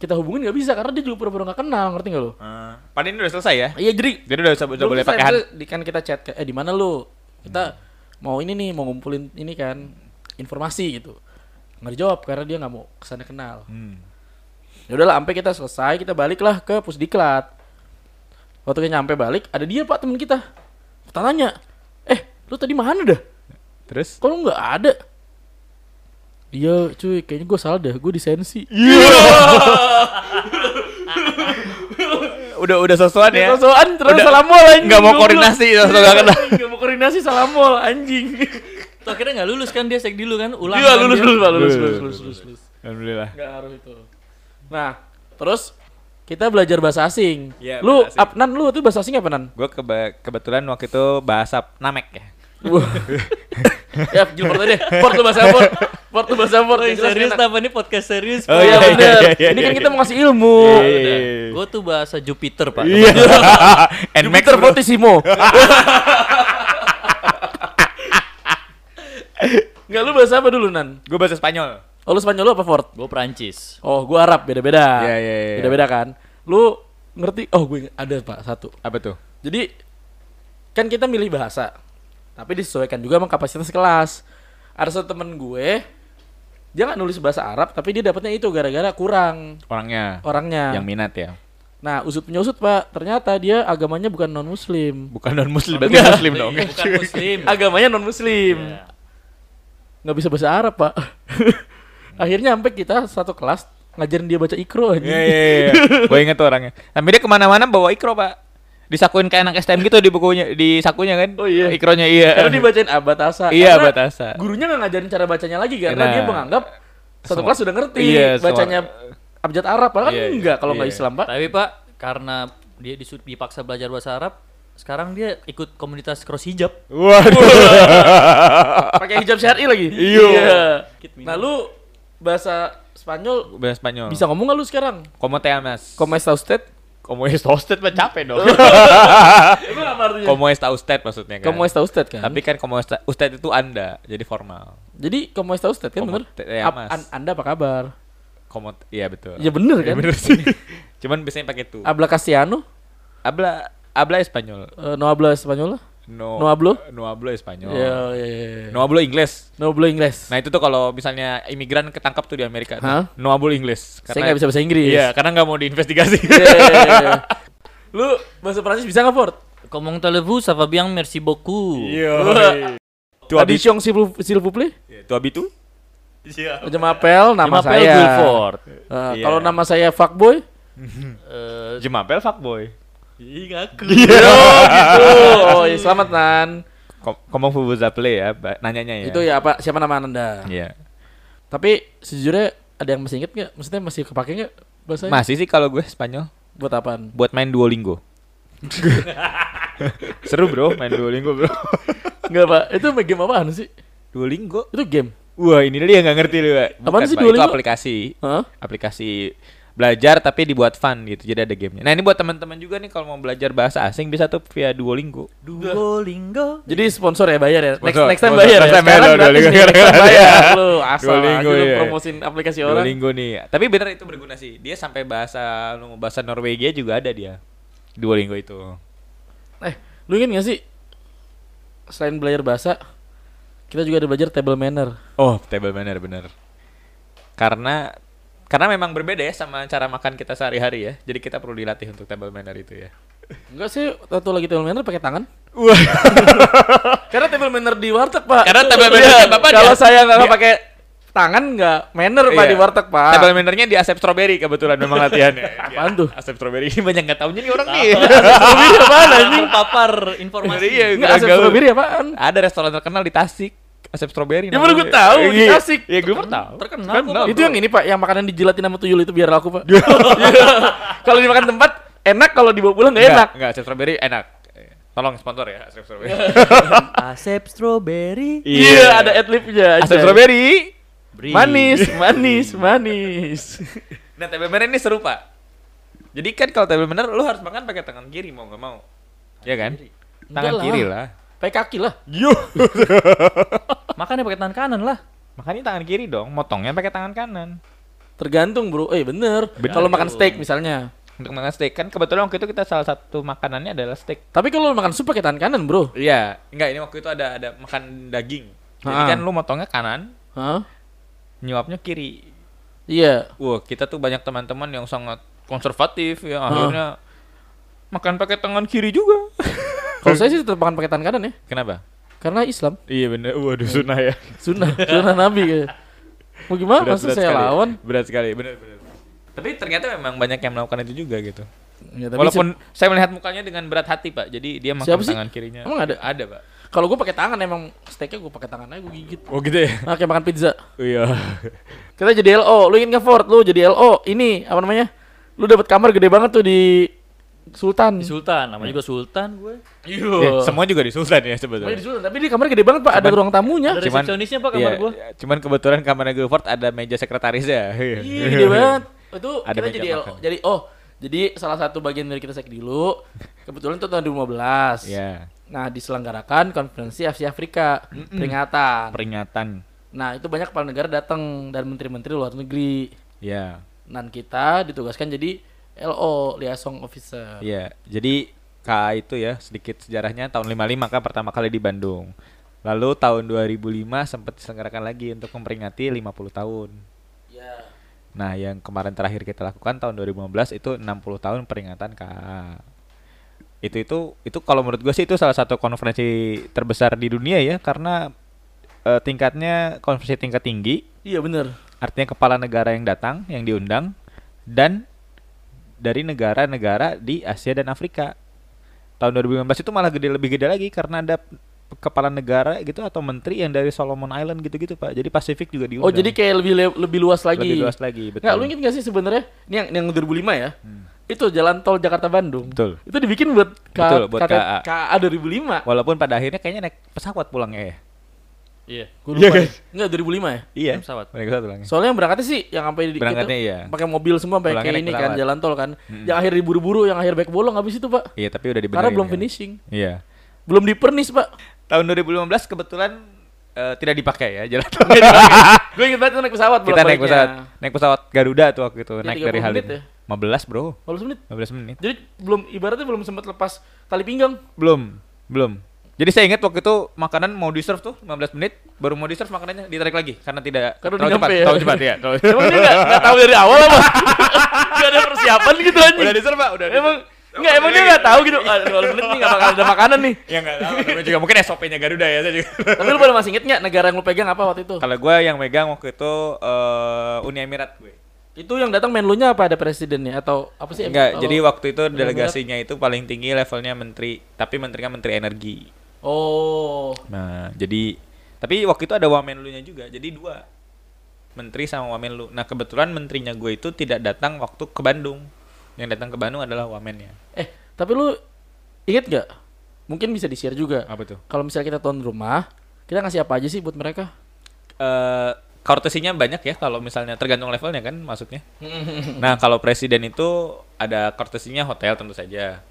Kita hubungin nggak bisa karena dia juga pura-pura nggak kenal, ngerti nggak lu? uh, padahal ini udah selesai ya Iya, jadi jadi udah bisa- udah Belum boleh selesai, pakai hand misalnya di kan kita chat kayak, eh di mana lu kita mau ini nih mau ngumpulin ini kan informasi gitu nggak dijawab karena dia nggak mau kesana kenal Hmm. ya udahlah sampai kita selesai kita baliklah ke pusdiklat waktu kita nyampe balik ada dia pak temen kita kita tanya eh lu tadi mana dah terus <laughs> kok lu nggak ada Iya cuy, kayaknya gue salah dah, gue disensi udah udah sesuatu ya Dia sosokan terus Udah. salah mall anjing Nggak mau goblok. koordinasi, langsung nggak kenal. Nggak mau koordinasi salah mall anjing Tuh akhirnya nggak lulus kan dia sek dulu kan ulang. kan Iya lulus dia. lulus pak lulus Lulus, lulus lulus, lulus lulus lulus. alhamdulillah Nggak harus itu. Nah terus Iya, kita belajar bahasa asing. Iya, lu bahasa asing. ap, nan lu itu bahasa asing apa nan? gue keba- kebetulan waktu itu bahasa Namek ya Wah. ya Gil Port aja deh. Port lu bahasa port. Port lu bahasa port. Podcast yang Iya. jelas serius enak. apa nih podcast serius? iya, Oh, Oh iya iya, iya, bener. iya, iya, Ini kan iya, kita iya. mau ngasih ilmu. <laughs> Gue tuh bahasa Jupiter pak. iya and Max Jupiter bro. Fortissimo. Enggak lu bahasa apa dulu nan? gue bahasa Spanyol Oh lu Spanyol lu apa Fort? Gue Perancis. Oh gua Arab beda-beda. Iya, iya, iya. Beda-beda kan. Lu ngerti? Oh gue ingat. ada pak satu. apa tuh Jadi kan kita milih bahasa, tapi disesuaikan juga sama kapasitas kelas. Ada satu temen gue, dia nggak nulis bahasa Arab, tapi dia dapatnya itu gara-gara kurang orangnya orangnya. yang minat ya Nah usut penyusut pak, ternyata dia agamanya bukan non Muslim, bukan non muslim berarti muslim dong Iya, Bukan Muslim. agamanya non Muslim, Iya. nggak bisa bahasa Arab pak. <laughs> Akhirnya sampai kita satu kelas ngajarin dia baca ikro aja. Iya iya iya. Gue inget tuh orangnya. Tapi dia kemana-mana bawa ikro pak. Disakuin kayak anak STM gitu di bukunya, di sakunya kan? Oh, iya. Ikronya iya. <laughs> Karena dibacain abatasa. Iya, Karena Abatasa. Gurunya nggak ngajarin cara bacanya lagi karena Nah. dia menganggap satu Semua- kelas sudah ngerti Iya, semua- bacanya abjad Arab, padahal Iya, kan iya, enggak kalau nggak iya. Islam pak. Tapi pak karena dia disu- dipaksa belajar bahasa Arab, sekarang dia ikut komunitas cross hijab. Waduh. Pakai hijab syari lagi. <laughs> Iya. Nah lu bahasa Spanyol Bahasa Spanyol. bisa ngomong nggak lu sekarang? Como te amas? Como está usted? Como esta usted mah capek dong. Emang apa artinya? <laughs> Como esta usted maksudnya kan? Como está usted kan? Tapi kan como esta usted itu anda, jadi formal. Jadi como está usted kan Como bener? te ya, llamas. Ap- an- anda apa kabar? Como iya betul. Ya bener Iya, kan? bener sih. <laughs> Cuman biasanya pakai tuh. Habla castellano? Habla habla Spanyol. Eh, no habla española? No. No hablo? No hablo Spanyol. Ya, ya, ya. No hablo Inggris. No hablo inglés. Nah itu tuh kalau misalnya imigran ketangkap tuh di Amerika, tuh, Hah? no hablo Inggris. Saya nggak bisa bahasa Inggris. Iya, karena nggak mau diinvestigasi. <laughs> Iya. Lu bahasa Prancis bisa nggak Ford? Komong televu, sava bien, merci beaucoup. Iya. Tu Tadi habis, siung s'il vous- s'il vous plaît. tu habis tu? Macam Ya, apel Iya. nama Lima pel saya. Guilford. Eh, Kalau nama saya fuckboy, eh Jemapel fuckboy. Ih, ngaku. Iya. Oh, iya, selamat Nan. Kom- Komong Fubuza play ya, ba- nanyanya ya. Itu ya apa siapa nama Anda? Iya. Tapi sejujurnya ada yang masih inget nggak? Maksudnya masih kepake nggak bahasanya? Masih sih kalau gue Spanyol Buat apaan? buat main <laughs> Duolingo. Seru bro, main Duolingo bro. Enggak pak, itu game apaan sih? Duolingo. Itu game? Wah ini dia nggak ngerti lu. Pak. Apaan sih Pak, Duolingo? Itu aplikasi, Hah? aplikasi belajar tapi dibuat fun gitu. Jadi ada gamenya. Nah ini buat teman-teman juga nih kalau mau belajar bahasa asing bisa tuh via Duolingo. Duolingo. Jadi sponsor ya bayar ya. Next Sponsor, next time sponsor. bayar Next ya. time bayar Sekarang lo, gratis Duolingo. nih, next time bayar lu <laughs> asal aja Duolingo, lu iya. promosin aplikasi orang. Duolingo nih. Tapi bener itu berguna sih. Dia sampai bahasa lu mau bahasa Norwegia juga ada dia. Duolingo itu. Eh, lu inget gak sih? Selain belajar bahasa, kita juga ada belajar table manner. Oh, table manner bener. Karena karena memang berbeda ya sama cara makan kita sehari-hari ya. Jadi kita perlu dilatih untuk table manner itu ya. Enggak sih, satu lagi table manner pakai tangan. Wah. Karena table manner di warteg, Pak. Karena table manner Iya, di Bapak Kalau dia- saya nggak dia- pakai tangan nggak manner Pak di warteg, Pak. Iya. Table mannernya di Asep Strawberry kebetulan memang latihannya. Di <laughs> Apaan tuh? Asep Strawberry <laughs> ini banyak nggak tahunya nih orang nih. Strawberry apaan anjing? Papar informasi. <laughs> Iya, Enggak, asal gaul. strawberry apaan? Ada restoran terkenal di Tasik. Asep Strawberry. Ya, baru namanya. gue tahu, di Iya. Tasik. Iya, gue pernah. Terkenal kok, Terkenal. Pak. Itu yang ini Pak, yang makanan dijelatin sama tuyul itu biar laku Pak. <laughs> Iya. Kalau dimakan tempat enak, kalau dibawa pulang nggak enak. Enggak, enggak, Asep Strawberry enak. Tolong sponsor ya Asep <laughs> Strawberry. Asep strawberry. Iya, ada adlibnya. Asep aja. Strawberry. Manis, manis, manis. Nah, table manner ini seru, Pak. Jadi kan kalau table manner lu harus makan pakai tangan kiri mau nggak mau. Iya kan? Tangan Enggak kiri lah. lah. <laughs> Pakai kaki lah. Makannya pakai tangan kanan lah. Makanya tangan kiri dong, motongnya pakai tangan kanan. Tergantung bro. Eh bener. Kalau makan steak misalnya. Untuk makan steak kan kebetulan waktu itu kita salah satu makanannya adalah steak. Tapi kalau lu makan sup pakai tangan kanan bro. Iya, enggak ini waktu itu ada ada makan daging. Jadi Ha-ha. kan lu motongnya kanan, Hah? nyuapnya kiri. Iya. Wah, kita tuh banyak teman-teman yang sangat konservatif ya akhirnya makan pakai tangan kiri juga. Kalau saya sih tetap makan pakai tangan kanan ya. Kenapa? Karena Islam. Iya bener, waduh sunnah ya. <laughs> Sunnah. Sunnah Nabi. kayaknya. Mau gimana? Berat- Masa berat saya sekali. lawan? Berat sekali, benar benar. Tapi ternyata memang banyak yang melakukan itu juga gitu. Ya, tapi Walaupun saya melihat mukanya dengan berat hati, Pak. Jadi dia makan Siapa sih? tangan kirinya. Emang ada? Ada, Pak. se- kalau gue pakai tangan emang steaknya gue pakai tangan aja gue gigit. Oh, gitu ya. Nah, kayak makan pizza. Iya. Kita jadi LO, lu ingin ngefort, lu jadi LO. Ini apa namanya? Lu dapat kamar gede banget tuh di Sultan. Di Sultan, Iya. Eh, namanya juga Sultan gue. <laughs> semua juga di Sultan ya Namanya Iya, di sebetulnya. Sultan, tapi di kamar gede banget, Pak. Ada ruang tamunya. Ada <laughs> resepsionisnya, Pak, kamar iya, gua. iya. Cuman kebetulan kamarnya Gilford ada meja ya. sekretarisnya. Iya, gede banget. Itu Ada kita meja jadi LO. makan. Jadi oh, jadi salah satu bagian dari kita sek dulu. Kebetulan itu tahun 2015. Iya. Nah, diselenggarakan konferensi Asia Afrika peringatan. Peringatan. Nah, itu banyak kepala negara datang dan menteri-menteri luar negeri. Iya. Dan kita ditugaskan jadi LO, liaison officer. Iya. Jadi KA itu ya sedikit sejarahnya tahun 55 kan pertama kali di Bandung. Lalu tahun 2005 sempat diselenggarakan lagi untuk memperingati 50 tahun. Iya. Nah, yang kemarin terakhir kita lakukan tahun 2015 itu 60 tahun peringatan KA. Itu itu itu kalau menurut gue sih itu salah satu konferensi terbesar di dunia ya karena eh, tingkatnya konferensi tingkat tinggi, Iya, bener artinya kepala negara yang datang, yang diundang dan dari negara-negara di Asia dan Afrika. Tahun 2015 itu malah gede lebih gede lagi karena ada kepala negara gitu atau menteri yang dari Solomon Island gitu-gitu, Pak. Jadi Pasifik juga diundang. Oh jadi kayak lebih le- lebih luas lagi. Iya, Lebih luas lagi, betul. Hmm. Nggak, lu inget gak sih sebenarnya? Ini yang yang 2005 ya. Itu jalan tol Jakarta Bandung. Betul. Itu dibikin buat K- Betul, buat KT- KA. KA 2005. Walaupun pada akhirnya kayaknya naik pesawat pulangnya ya. Iya. Gua Iya, lupa. kan? Enggak 2005 ya. Iya. Naik pesawat. Naik pesawat pulangnya. Soalnya yang berangkatnya sih yang sampai di- Berangkatnya iya. pakai mobil semua sampai Pulangnya kayak naik ini kan pesawat. Hmm. jalan tol kan. Yang akhir diburu-buru, yang akhir back bolong habis itu, Pak. Iya, tapi udah dibenerin. Karena belum kan. finishing. Iya. Belum dipernis, Pak. Tahun 2015 kebetulan eh, tidak dipakai ya <laughs> jalan tol. Gue inget banget naik pesawat Kita naik bolak-baliknya. pesawat, naik pesawat Garuda tuh waktu itu, Iya, naik dari 30 Halim. menit ya? 15, Bro. 15 menit. 15 menit. Jadi belum ibaratnya belum sempat lepas tali pinggang. Belum, belum. Jadi saya ingat waktu itu makanan mau di serve tuh 15 menit, baru mau di serve makanannya ditarik lagi karena tidak Karena udah terlalu cepat, nyampe ya. terlalu cepat <laughs> ya. terlalu- Emang dia nggak nggak tahu dari awal apa? <laughs> Gak ada persiapan gitu anjing. udah di serve, Pak, udah. di- Emang enggak emang dia enggak tahu gitu. Ah, 20 menit nih enggak bakal ada makanan nih. ya enggak tahu, namanya juga mungkin SOP-nya Garuda ya saya juga. Tapi lu pada masih inget enggak negara yang lu pegang apa waktu itu? Kalau gue yang megang waktu itu eh, Uni Emirat gue. Itu yang datang menlunya apa ada presidennya atau apa sih? Enggak, Kalau- jadi waktu itu benar-benar- delegasinya itu paling tinggi levelnya menteri, tapi menterinya menteri energi. Oh, Nah, jadi tapi waktu itu ada wamenlunya juga, jadi dua menteri sama wamenlu. Nah kebetulan menterinya gue itu tidak datang waktu ke Bandung, yang datang ke Bandung adalah wamennya. eh tapi lu inget nggak? Mungkin bisa di share juga. Apa tuh? Kalau misalnya kita tahun rumah, kita ngasih apa aja sih buat mereka? eh kortesinya banyak ya kalau misalnya tergantung levelnya kan maksudnya. nah kalau presiden itu ada kortesinya hotel tentu saja.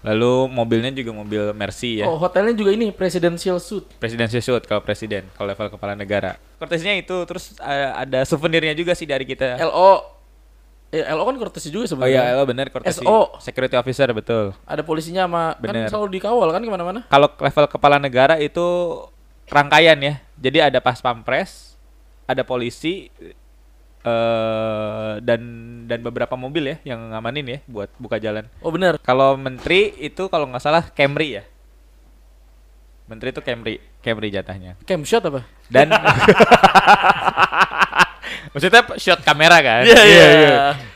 Lalu mobilnya juga mobil Mercy <laughs> ya. Oh, hotelnya juga ini presidential suite. Presidential suite kalau presiden, kalau level kepala negara. Kortesinya itu terus eh, ada souvenirnya juga sih dari kita. LO eh, LO kan kortesi Ya. oh juga iya, sebenarnya. lo bener kortesi. SO. Security officer betul. Ada polisinya sama Bener. kan selalu dikawal kan kemana mana Kalau level kepala negara itu rangkaian ya. Jadi ada pas pampres, ada polisi eh dan dan beberapa mobil ya yang ngamanin ya buat buka jalan. Oh, bener. Kalau menteri itu kalau nggak salah Camry ya. Menteri itu Camry, Camry jatahnya. Cam shot apa? <laughs> Dan maksudnya shot kamera kan? Nah, Iya,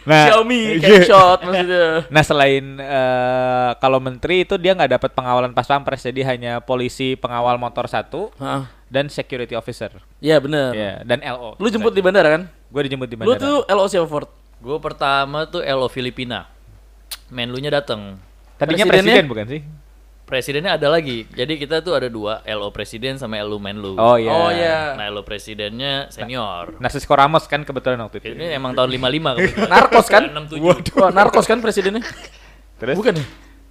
Xiaomi kan? iya. cam shot maksudnya. Nah selain eh, kalau menteri itu dia nggak dapat pengawalan pas pampres jadi hanya polisi pengawal motor satu Heeh. dan security officer Iya bener. ya dan LO. Lu jemput di bandara kan? Gue dijemput di Lu bandara. tuh LO siapa Ford? Gue pertama tuh Elo Filipina. Menlunya datang. Tadinya presidennya? presiden bukan sih? Presidennya ada lagi. Jadi kita tuh ada dua, LO Presiden sama LO Menlu. Oh iya. Oh iya. Nah, LO Presidennya senior. Narcisco Ramos kan kebetulan waktu itu. Ini emang tahun 55 <laughs> kebetulan. Narkos kan? 67. Wah, narkos kan presidennya? Terus Bukan ya?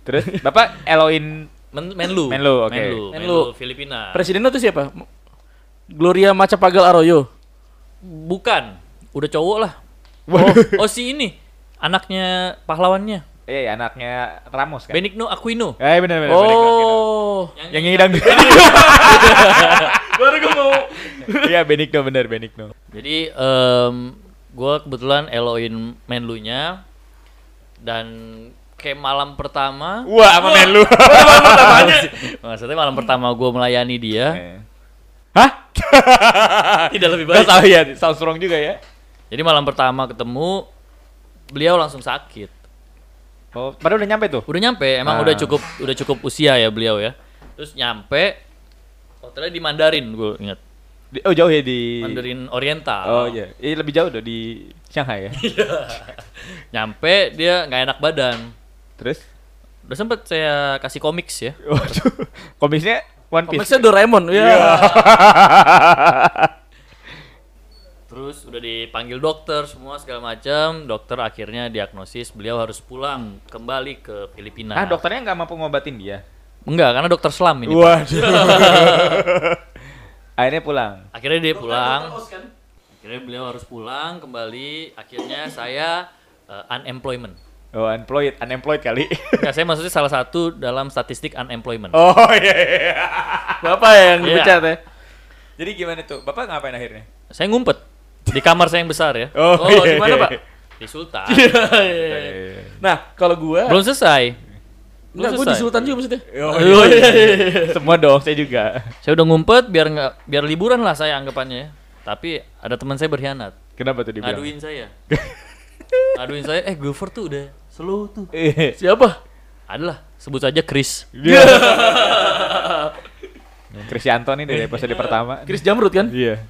terus Bapak LO-in Men- Menlu. Menlu, oke. Menlu. Menlu. Menlu Filipina. Presidennya tuh siapa? M- Gloria Macapagal Arroyo. Bukan. Udah cowok lah. Oh, oh si ini. Anaknya pahlawannya. Iya, iya, anaknya Ramos kan. Benigno Aquino. Eh benar benar. Oh. Yang <laughs> ngidang. Baru gue mau. Iya, Benigno benar Benigno. Jadi em gue kebetulan eloin menlunya dan kayak malam pertama Wah, sama Menlu. <laughs> maksudnya malam pertama gue melayani dia <laughs> Hah? tidak lebih Gak baik tahu ya, sound strong juga ya. jadi malam pertama ketemu beliau langsung sakit Oh, padahal udah nyampe tuh. udah nyampe emang Ah. udah cukup udah cukup usia ya beliau ya terus nyampe hotelnya di Mandarin gue ingat Di- oh, jauh ya di Mandarin Oriental Oh iya, Ini lebih jauh dong di <laughs> Shanghai ya. <laughs> nyampe dia nggak enak badan Terus? udah sempet saya kasih komiks ya Waduh, komisnya One Piece. Komiksnya Doraemon. Iya. Terus udah dipanggil dokter semua segala macam, dokter akhirnya diagnosis beliau harus pulang kembali ke Filipina. Ah, dokternya nggak mampu ngobatin dia. Enggak, karena dokter selam ini. Pak. <laughs> Waduh. Akhirnya pulang. Akhirnya dia pulang. Akhirnya beliau harus pulang kembali, akhirnya saya eh, unemployment. Oh, unemployed, unemployed kali. Enggak, saya maksudnya salah satu dalam statistik unemployment. oh iya. iya. Bapak yang Iya. dipecat ya. Jadi gimana tuh? Bapak ngapain akhirnya? Saya ngumpet di kamar saya yang besar ya. Oh, iya, di mana, iya, Pak? Di Sultan. Eh. Nah, kalau gua Belum selesai. Belum enggak gua di selesai. Sultan juga maksudnya. Oh, iya. Semua dong, saya juga. Saya udah ngumpet biar nggak biar liburan lah saya anggapannya. Tapi ada teman saya berkhianat. Kenapa tuh dibilang? ngaduin saya ngaduin saya eh Gilford tuh udah slow tuh Eh, Siapa? adalah sebut saja Chris Iya. <laughs> Krisyanto nih dari episode pertama. Chris Jamrut kan? Iya.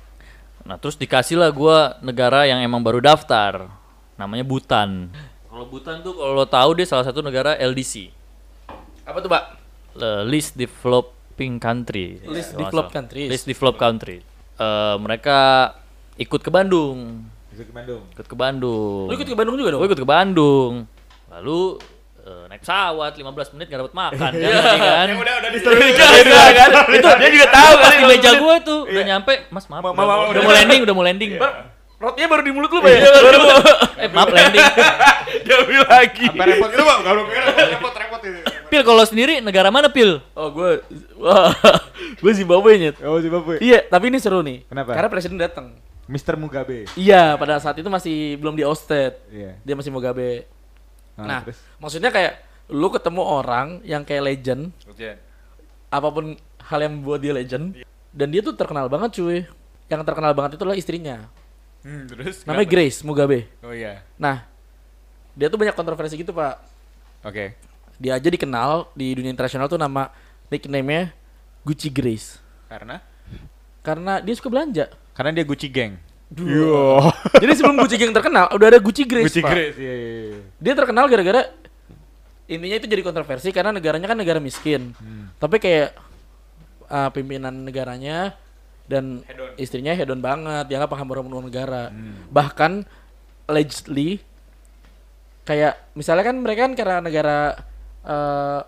nah terus dikasih lah gue negara yang emang baru daftar namanya Butan kalau Butan tuh kalau lo tahu dia salah satu negara LDC Apa tuh, Pak? Le- Least Developing Country Least Kalau nggak Developed salah. Countries. Least Developed Country Eh, mereka ikut ke Bandung Ikut ke Bandung. ikut ke Bandung Lu ikut ke Bandung juga dong? Gue ikut ke Bandung. Lalu eh, naik pesawat 15 menit gak dapat makan kan, <laughs> Iya. tadi kan. Ya, Udah udah diseruin kan. Itu dia juga tahu Pas kan, di Iya. meja gue tuh udah nyampe, Mas maaf, udah, maaf, mau- udah mau landing, udah mau landing. Rotnya Iya. baru di mulut lu, Pak. iya, ya? eh maaf <laughs> landing. lagi. Apa repot itu bang? Kalau repot repot itu. Pil kalau sendiri negara mana Pil? Oh, gua wah, <laughs> gua Zimbabwe nyet. Ya, Oh si Bapak. Iya, tapi ini seru nih. Kenapa? Karena presiden datang. Mister Mugabe. Iya, pada saat itu masih belum di ousted. Iya. Dia masih Mugabe. Nah, Nah, terus? maksudnya kayak lu ketemu orang yang kayak legend, apapun Iya. hal yang buat dia legend, dan dia tuh terkenal banget cuy. Yang terkenal banget itu adalah istrinya. Hmm, terus Namanya kenapa? Grace Mugabe. Oh iya. Nah, dia tuh banyak kontroversi gitu, Pak. Oke. Dia aja dikenal di dunia internasional tuh nama nickname-nya Gucci Grace. Karena Karena dia suka belanja. karena dia Gucci Gang. Iya. Duh. Yo. Jadi sebelum Gucci Gang terkenal, udah ada Gucci Grace, Gucci Pak. Grace. Iya, iya, iya. Dia terkenal gara-gara intinya itu jadi kontroversi karena negaranya kan negara miskin. Hmm. Tapi kayak uh, pimpinan negaranya dan istrinya hedon banget, dia nggak paham peraturan negara. Hmm. Bahkan allegedly kayak misalnya kan mereka kan karena negara uh,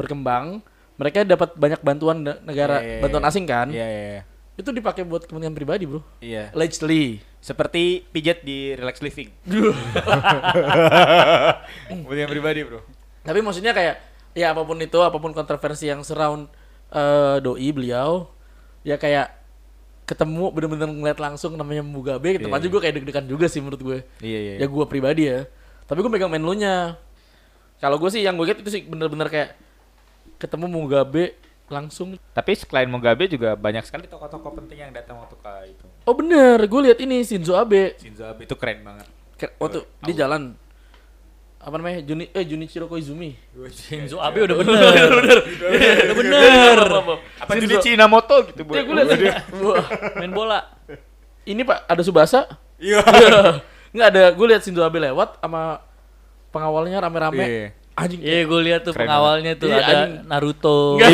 berkembang, mereka dapat banyak bantuan da- negara Iya, iya, bantuan iya. asing kan. Iya, iya, iya. Itu dipakai buat kepentingan pribadi, Bro. Iya. Allegedly. Seperti pijat di relax <laughs> living. Eh, Buat yang pribadi, Bro. Tapi maksudnya kayak ya apapun itu, apapun kontroversi yang surround eh, doi beliau, ya kayak ketemu bener-bener ngeliat langsung namanya Mugabe, tetap aja gue kayak deg-degan juga sih menurut gue. Iya, iya. Ya gue pribadi ya. Tapi gue megang menlunya. Kalau gue sih yang gue lihat itu sih bener-bener kayak ketemu Mugabe langsung. Tapi selain Mugabe juga banyak sekali tokoh-tokoh penting yang datang waktu ke itu. Oh bener, gue lihat ini Shinzo Abe. Shinzo Abe itu keren banget. Ke- Waktu di oh, jalan apa namanya Juni eh Junichiro Koizumi. Shinzo Abe udah bener. Udah bener. Iya, Udah bener. Apa jadi Cinamoto gitu, Bu? Ya gue lihat Wah. Main bola. ini Pak ada Subasa <laughs> Iya. Nggak ada, gue lihat Shinzo Abe lewat sama pengawalnya rame-rame. Iya. Anjing. Iya, gue lihat tuh Keren pengawalnya tuh Iya, ada anjing. Naruto. Iya.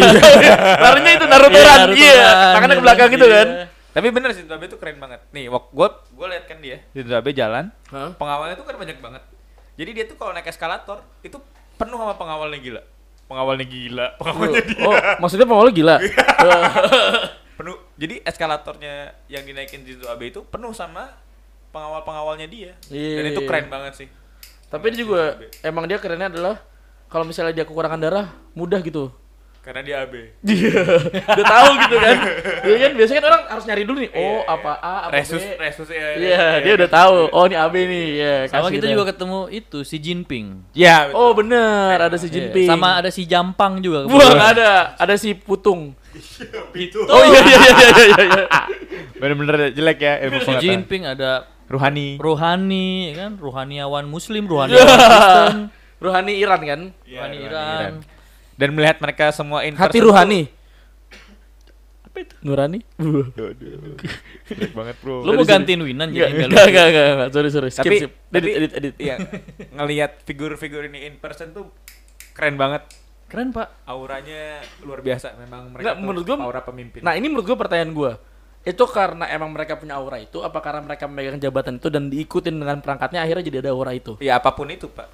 Larinya itu Naruto-ran. Naruto-ran. Iya, tangannya ke belakang gitu Iya. kan. Tapi bener Shinzo Abe itu keren banget. Nih, waktu gue gue lihat kan dia. Shinzo Abe jalan. Hah? Pengawalnya tuh kan banyak banget. Jadi dia tuh kalau naik eskalator itu penuh sama pengawalnya gila. Pengawalnya gila. Pengawalnya dia. Oh, maksudnya pengawal gila. Iya. penuh jadi eskalatornya yang dinaikin Shinzo Abe itu penuh sama pengawal-pengawalnya dia Iya. dan itu keren banget sih Tapi dia juga emang dia kerennya adalah kalau misalnya dia kekurangan darah mudah gitu. karena dia Abe Udah tahu gitu kan. Iya kan biasanya kan orang harus nyari dulu nih. Oh, Iya. apa A apa resus B. resus ya Iya, dia udah tahu. Oh, ini AB nih. Iya, Sama kasih kita dah. juga ketemu itu si Jinping. ya Oh, bener, ada si Iya. Jinping. Sama ada si Jampang juga. Wah, kebetulan. ada. Ada si Putung. itu Oh iya iya iya iya iya. iya. bener-bener jelek ya ilmu Si Jinping ada Ruhani Rohani, ya kan? Rohaniawan Muslim, Rohaniawan Iya. Kristen, Ruhani Iran kan? Rohani Iran. dan melihat mereka semua in Hati person <laughs> Ruhani. Apa itu? <laughs> Nurani? tuh- Aduh, jelek banget bro Lu mau gantiin Winan Enggak, jadi email enggak, enggak, enggak, enggak. Sorry, sorry. Skip, tapi skip. tapi Edit, edit, edit. iya, ngelihat figur-figur ini in person tuh keren banget Keren, Pak. auranya luar biasa memang mereka Nggak, tuh menurut gua- aura pemimpin Nah, ini menurut gua pertanyaan gua. Itu karena emang mereka punya aura itu, apa karena mereka memegang jabatan itu dan diikutin dengan perangkatnya akhirnya jadi ada aura itu? Ya apapun itu pak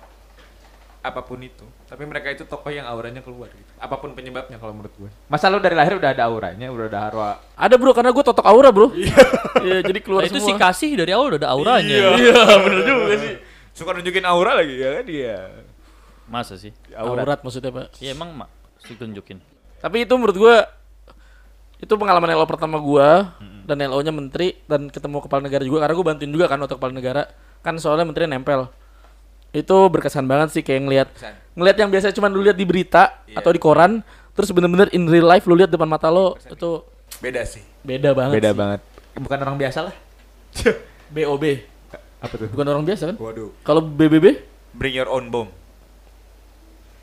Apapun itu Tapi mereka itu tokoh yang auranya keluar gitu Apapun penyebabnya kalau menurut gue Masa lu dari lahir udah ada auranya Udah ada aura Ada bro, karena gua totok aura bro. <laughs> Iya, Nah, jadi keluar itu si semua. Iya. Kasih dari awal udah ada auranya. <laughs> Iya. bener juga sih Suka nunjukin aura lagi ya kan dia Masa sih? aurat. aurat maksudnya pak. Ya emang mak, Terus ditunjukin. Tapi itu menurut gua itu pengalaman LO pertama gua dan LO-nya menteri dan ketemu kepala negara juga karena gua bantuin juga kan waktu kepala negara kan soalnya menteri nempel itu berkesan banget sih kayak ngelihat ngelihat yang biasa cuman lu lihat di berita atau di koran terus bener-bener in real life lu lihat depan mata lo itu Beda sih beda banget Beda sih. banget Bukan orang biasa lah BOB Apa tuh? bukan orang biasa kan Waduh kalau BBB Bring your own bomb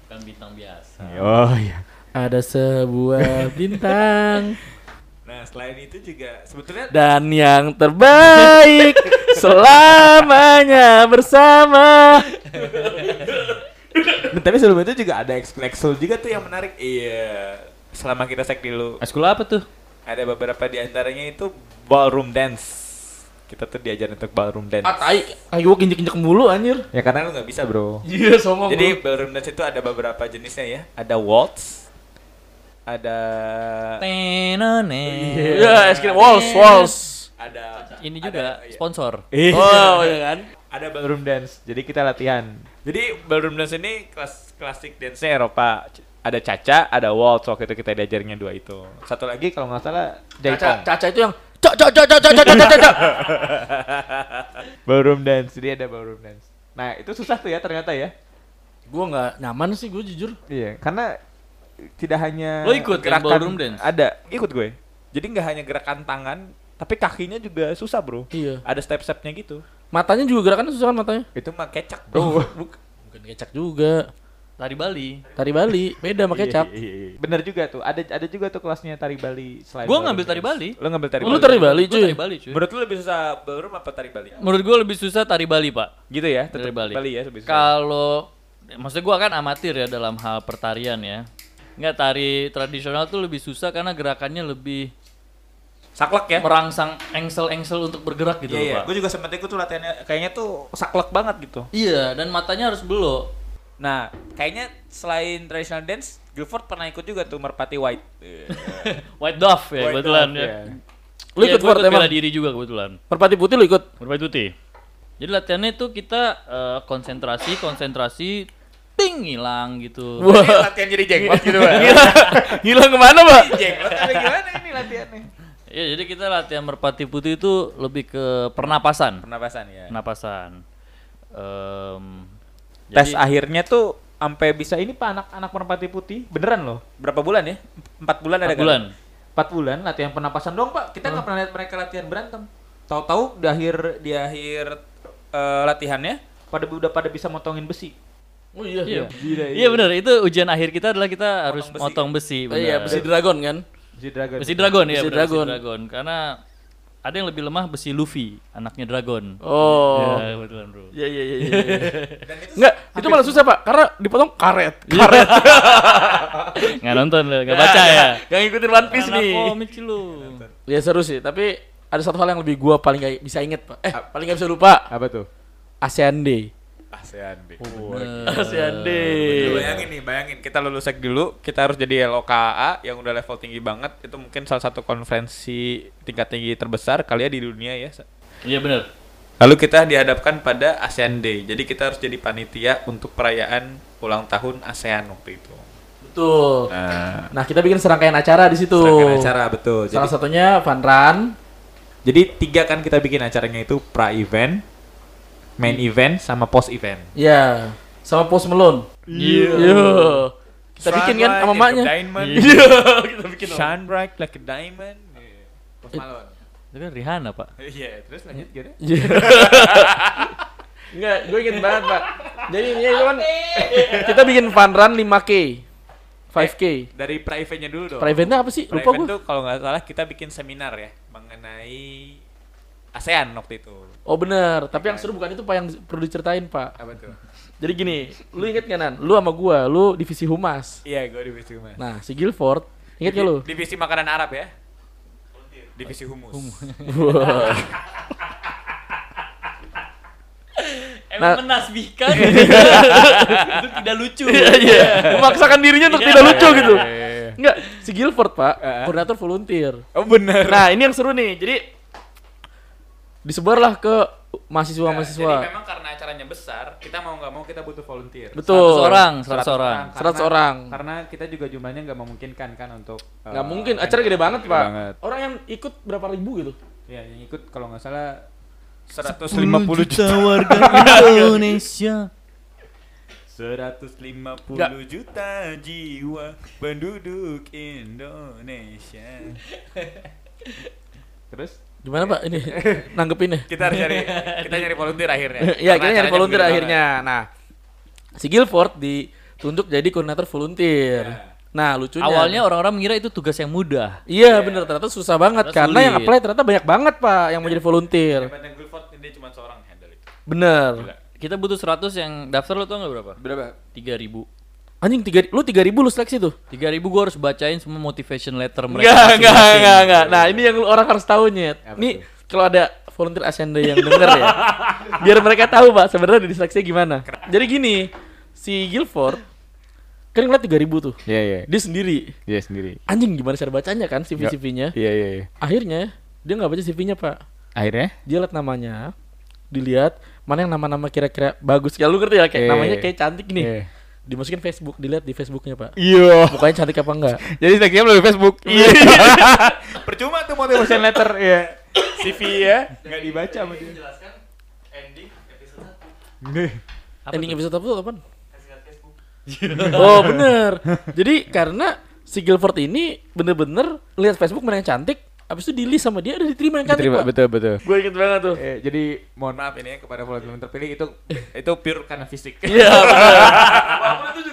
Kan Bukan bintang biasa. Oh iya ada sebuah <laughs> bintang Nah selain itu juga sebetulnya dan yang terbaik selamanya bersama Tapi sebelum itu juga ada Excel juga tuh yang menarik Iya Selama kita sek dulu Eskul apa tuh? Ada beberapa di antaranya itu Ballroom dance Kita tuh diajarin untuk ballroom dance Ah, tai, kaki gua injek-injek mulu anjir. Ya karena lu nggak bisa bro. Iya, sombong. Jadi Jadi ballroom dance itu ada beberapa jenisnya ya. Ada waltz, ada Tenone. iya, es krim walls, walls. ada Ini juga ada- iya. sponsor. Ih, Oh, iya kan? ada ballroom dance. Jadi kita latihan. Jadi ballroom dance ini kelas klasik dance-nya Eropa. C- Ada caca, ada waltz waktu itu kita diajarinnya dua itu. Satu lagi kalau nggak salah Caca, jaipong. caca itu yang cok cok cok cok cok cok cok cok, cok. Ballroom dance. Jadi ada ballroom dance. Nah, itu susah tuh ya ternyata ya. Gua enggak nyaman sih gua jujur. Iya, karena tidak hanya Lo ikut yang gerakan ballroom dance? Ada, ikut gue. Jadi nggak hanya gerakan tangan, Tapi kakinya juga susah bro. Iya. Ada step-stepnya gitu. Matanya juga gerakannya susah kan matanya. Itu mah kecak <laughs> bro. Bukan kecak juga. Tari Bali. Tari Bali beda sama kecap. Iya, Bener juga tuh. Ada ada juga tuh kelasnya tari Bali. Selain Gua ballroom ngambil tari dance. Bali. Lo ngambil tari Lu Bali. Tari Bali Gua cuy. Tari Bali cuy. Menurut lu lebih susah ballroom apa tari Bali? Menurut gue lebih susah tari Bali pak. Gitu ya. Tari tetap Bali. Bali ya lebih susah. Kalau maksudnya gue kan amatir ya dalam hal pertarian ya. Nggak tari tradisional tuh lebih susah karena gerakannya lebih Saklek ya. Eh. merangsang engsel-engsel untuk bergerak Iya gitu loh iya. pak. Gue juga sempat ikut tuh latihannya. Kayaknya tuh saklek banget gitu. Iya dan matanya harus belok. <laughs> Nah, kayaknya selain traditional dance, Guilford pernah ikut juga tuh Merpati White. White Dove ya kebetulan ya. <laughs> Lu Iya, ikut gua Ford emang. bela diri juga kebetulan. Merpati Putih lu ikut. Merpati putih. Jadi latihannya itu kita eh, konsentrasi, konsentrasi, ting hilang gitu. <laughs> Wah, latihan jadi jenglot gitu kan. hilang kemana, Pak? <laughs> jenglot apa gimana ini latihannya? Iya, jadi kita latihan merpati putih itu lebih ke pernapasan. Pernapasan ya. Pernapasan. Em, ya. Iya. Tes jadi- akhirnya tuh sampai bisa ini pak anak-anak merpati putih beneran loh berapa bulan ya empat bulan ada Empat bulan. kan? empat bulan latihan pernapasan doang pak kita nggak pernah lihat mereka latihan berantem tahu-tahu di akhir di akhir eh, latihannya pada udah pada bisa motongin besi Oh iya. Iya, Gila, iya benar. Itu ujian akhir kita adalah kita harus besi. motong besi. Oh iya, benar. besi dragon kan? besi dragon Besi dragon ya. Besi benar, dragon. Karena ada yang lebih lemah besi Luffy, anaknya dragon. Oh. Ya, kebetulan bro. Iya iya iya iya. Enggak, itu malah susah, Pak, karena dipotong karet. Karet. Nggak nonton, lo, nggak baca ya. Yang ngikutin One Piece Anak nih. komik sih lu. Ya seru sih, tapi ada satu hal yang lebih gua paling gak bisa inget, Pak. Eh, paling gak bisa lupa. apa tuh ASEAN Day. ASEAN deh. ASEAN Day. Nah, bayangin nih, bayangin kita lulus sek dulu, kita harus jadi LOKA yang udah level tinggi banget. Itu mungkin salah satu konferensi tingkat tinggi terbesar kali ya di dunia ya. Iya benar. Lalu kita dihadapkan pada ASEAN Day. Jadi kita harus jadi panitia untuk perayaan ulang tahun ASEAN waktu itu. Betul. Nah, Nah, kita bikin serangkaian acara di situ. serangkaian acara betul. Salah Jadi, satunya Fun Run. jadi tiga kan kita bikin acaranya itu pra event, main event sama post event. Ya, sama Post Malone. Iya. Kita bikin kan sama maknya. Iya, kita <laughs> bikin. Shine bright like a diamond. Iya. Post Malone. Itu kan Rihanna pak. Iya, terus Hmm. lanjut gimana? Iya. <laughs> Enggak, gue inget banget, Pak. Jadi ini itu kan <laughs> kita bikin Fun Run 5K. 5K. Dari pra-eventnya dulu dong. Private-nya apa sih? Lupa Pra-event gue. tuh kalau nggak salah kita bikin seminar ya mengenai ASEAN waktu itu. Oh bener, tapi yang seru bukan itu Pak yang perlu diceritain Pak Apa <laughs> tuh? Jadi gini, lu inget gak Nan? Lu sama gua, lu divisi humas Iya, gue divisi humas. Nah si Guilford, inget <laughs> gak lu? Divisi makanan Arab ya? Divisi humus. <laughs> Wah. Nah. Emang <laughs> menasbihkan itu tidak lucu. Iya, iya. Memaksakan dirinya untuk tidak lucu gitu Enggak, si Guilford Pak, koordinator volunteer Iya. Oh bener. Nah ini yang seru nih, jadi Disebarlah ke mahasiswa-mahasiswa Jadi memang karena acaranya besar, kita mau nggak mau kita butuh volunteer. Betul 100 orang, 100 orang. Karena- 100 orang. Karena kita juga jumlahnya nggak memungkinkan kan untuk. Nggak eh, mungkin, acara gede banget gede Pak banget. Orang yang ikut berapa ribu gitu Ya, yang ikut kalau nggak salah 150 juta. <laughs> Iya, warga Indonesia. 150 Nggak. juta jiwa penduduk Indonesia. Terus Gimana Pak <laughs> ini, nanggepinnya? kita harus <laughs> cari kita nyari volunteer akhirnya. Eh, Karena Iya, kita nyari acaranya volunteer gede akhirnya. Nah, si Guilford ditunjuk jadi koordinator volunteer. Nah, lucunya Iya. Awalnya orang-orang mengira itu tugas yang mudah. Iya, bener ternyata susah banget Ternyata karena yang sulit. Iya. apply ternyata banyak banget, Pak, yang mau jadi volunteer. banget. Daripada Guilford dia cuma seorang handle itu. Bener. Kita butuh 100 yang daftar lo tau gak berapa? Berapa? 3000. Anjing tiga, lu 3000 lu seleksi tuh. 3000 gua harus bacain semua motivation letter mereka. Enggak, enggak, masing-masing. enggak, enggak. Nah, ini yang lu orang harus tahu Nyet. Nih, kalau ada volunteer Ascenda yang denger <laughs> ya. biar mereka tahu, Pak, sebenarnya diseleksinya gimana. Jadi gini, si Guilford kan ngeliat 3000 tuh. Iya, iya. Dia sendiri. Dia sendiri. Anjing gimana cara bacanya kan CV-CV-nya? Iya, iya, iya. Akhirnya dia nggak baca CV-nya pak. Akhirnya? Dia liat namanya, dilihat mana yang nama-nama kira-kira bagus. Ya lu ngerti ya kayak Iya, namanya iya. kayak cantik nih. Iya. Dimasukin Facebook, dilihat di Facebooknya pak. Iya. Mukanya cantik apa enggak? Jadi seleksinya melalui <laughs> Facebook. Iya. Percuma tuh motivation letter ya. CV ya, nggak dibaca sama dia. Nih. Ending episode apa tuh kapan? <laughs> oh bener. Jadi karena si Guilford ini bener-bener lihat Facebook mana yang cantik, Abis itu di list sama dia udah diterima yang cantik Diterima, pak. betul betul. Gue inget banget tuh. Eh, jadi mohon maaf ini ya kepada pemain terpilih itu itu pure karena fisik. Iya benar. Apapun itu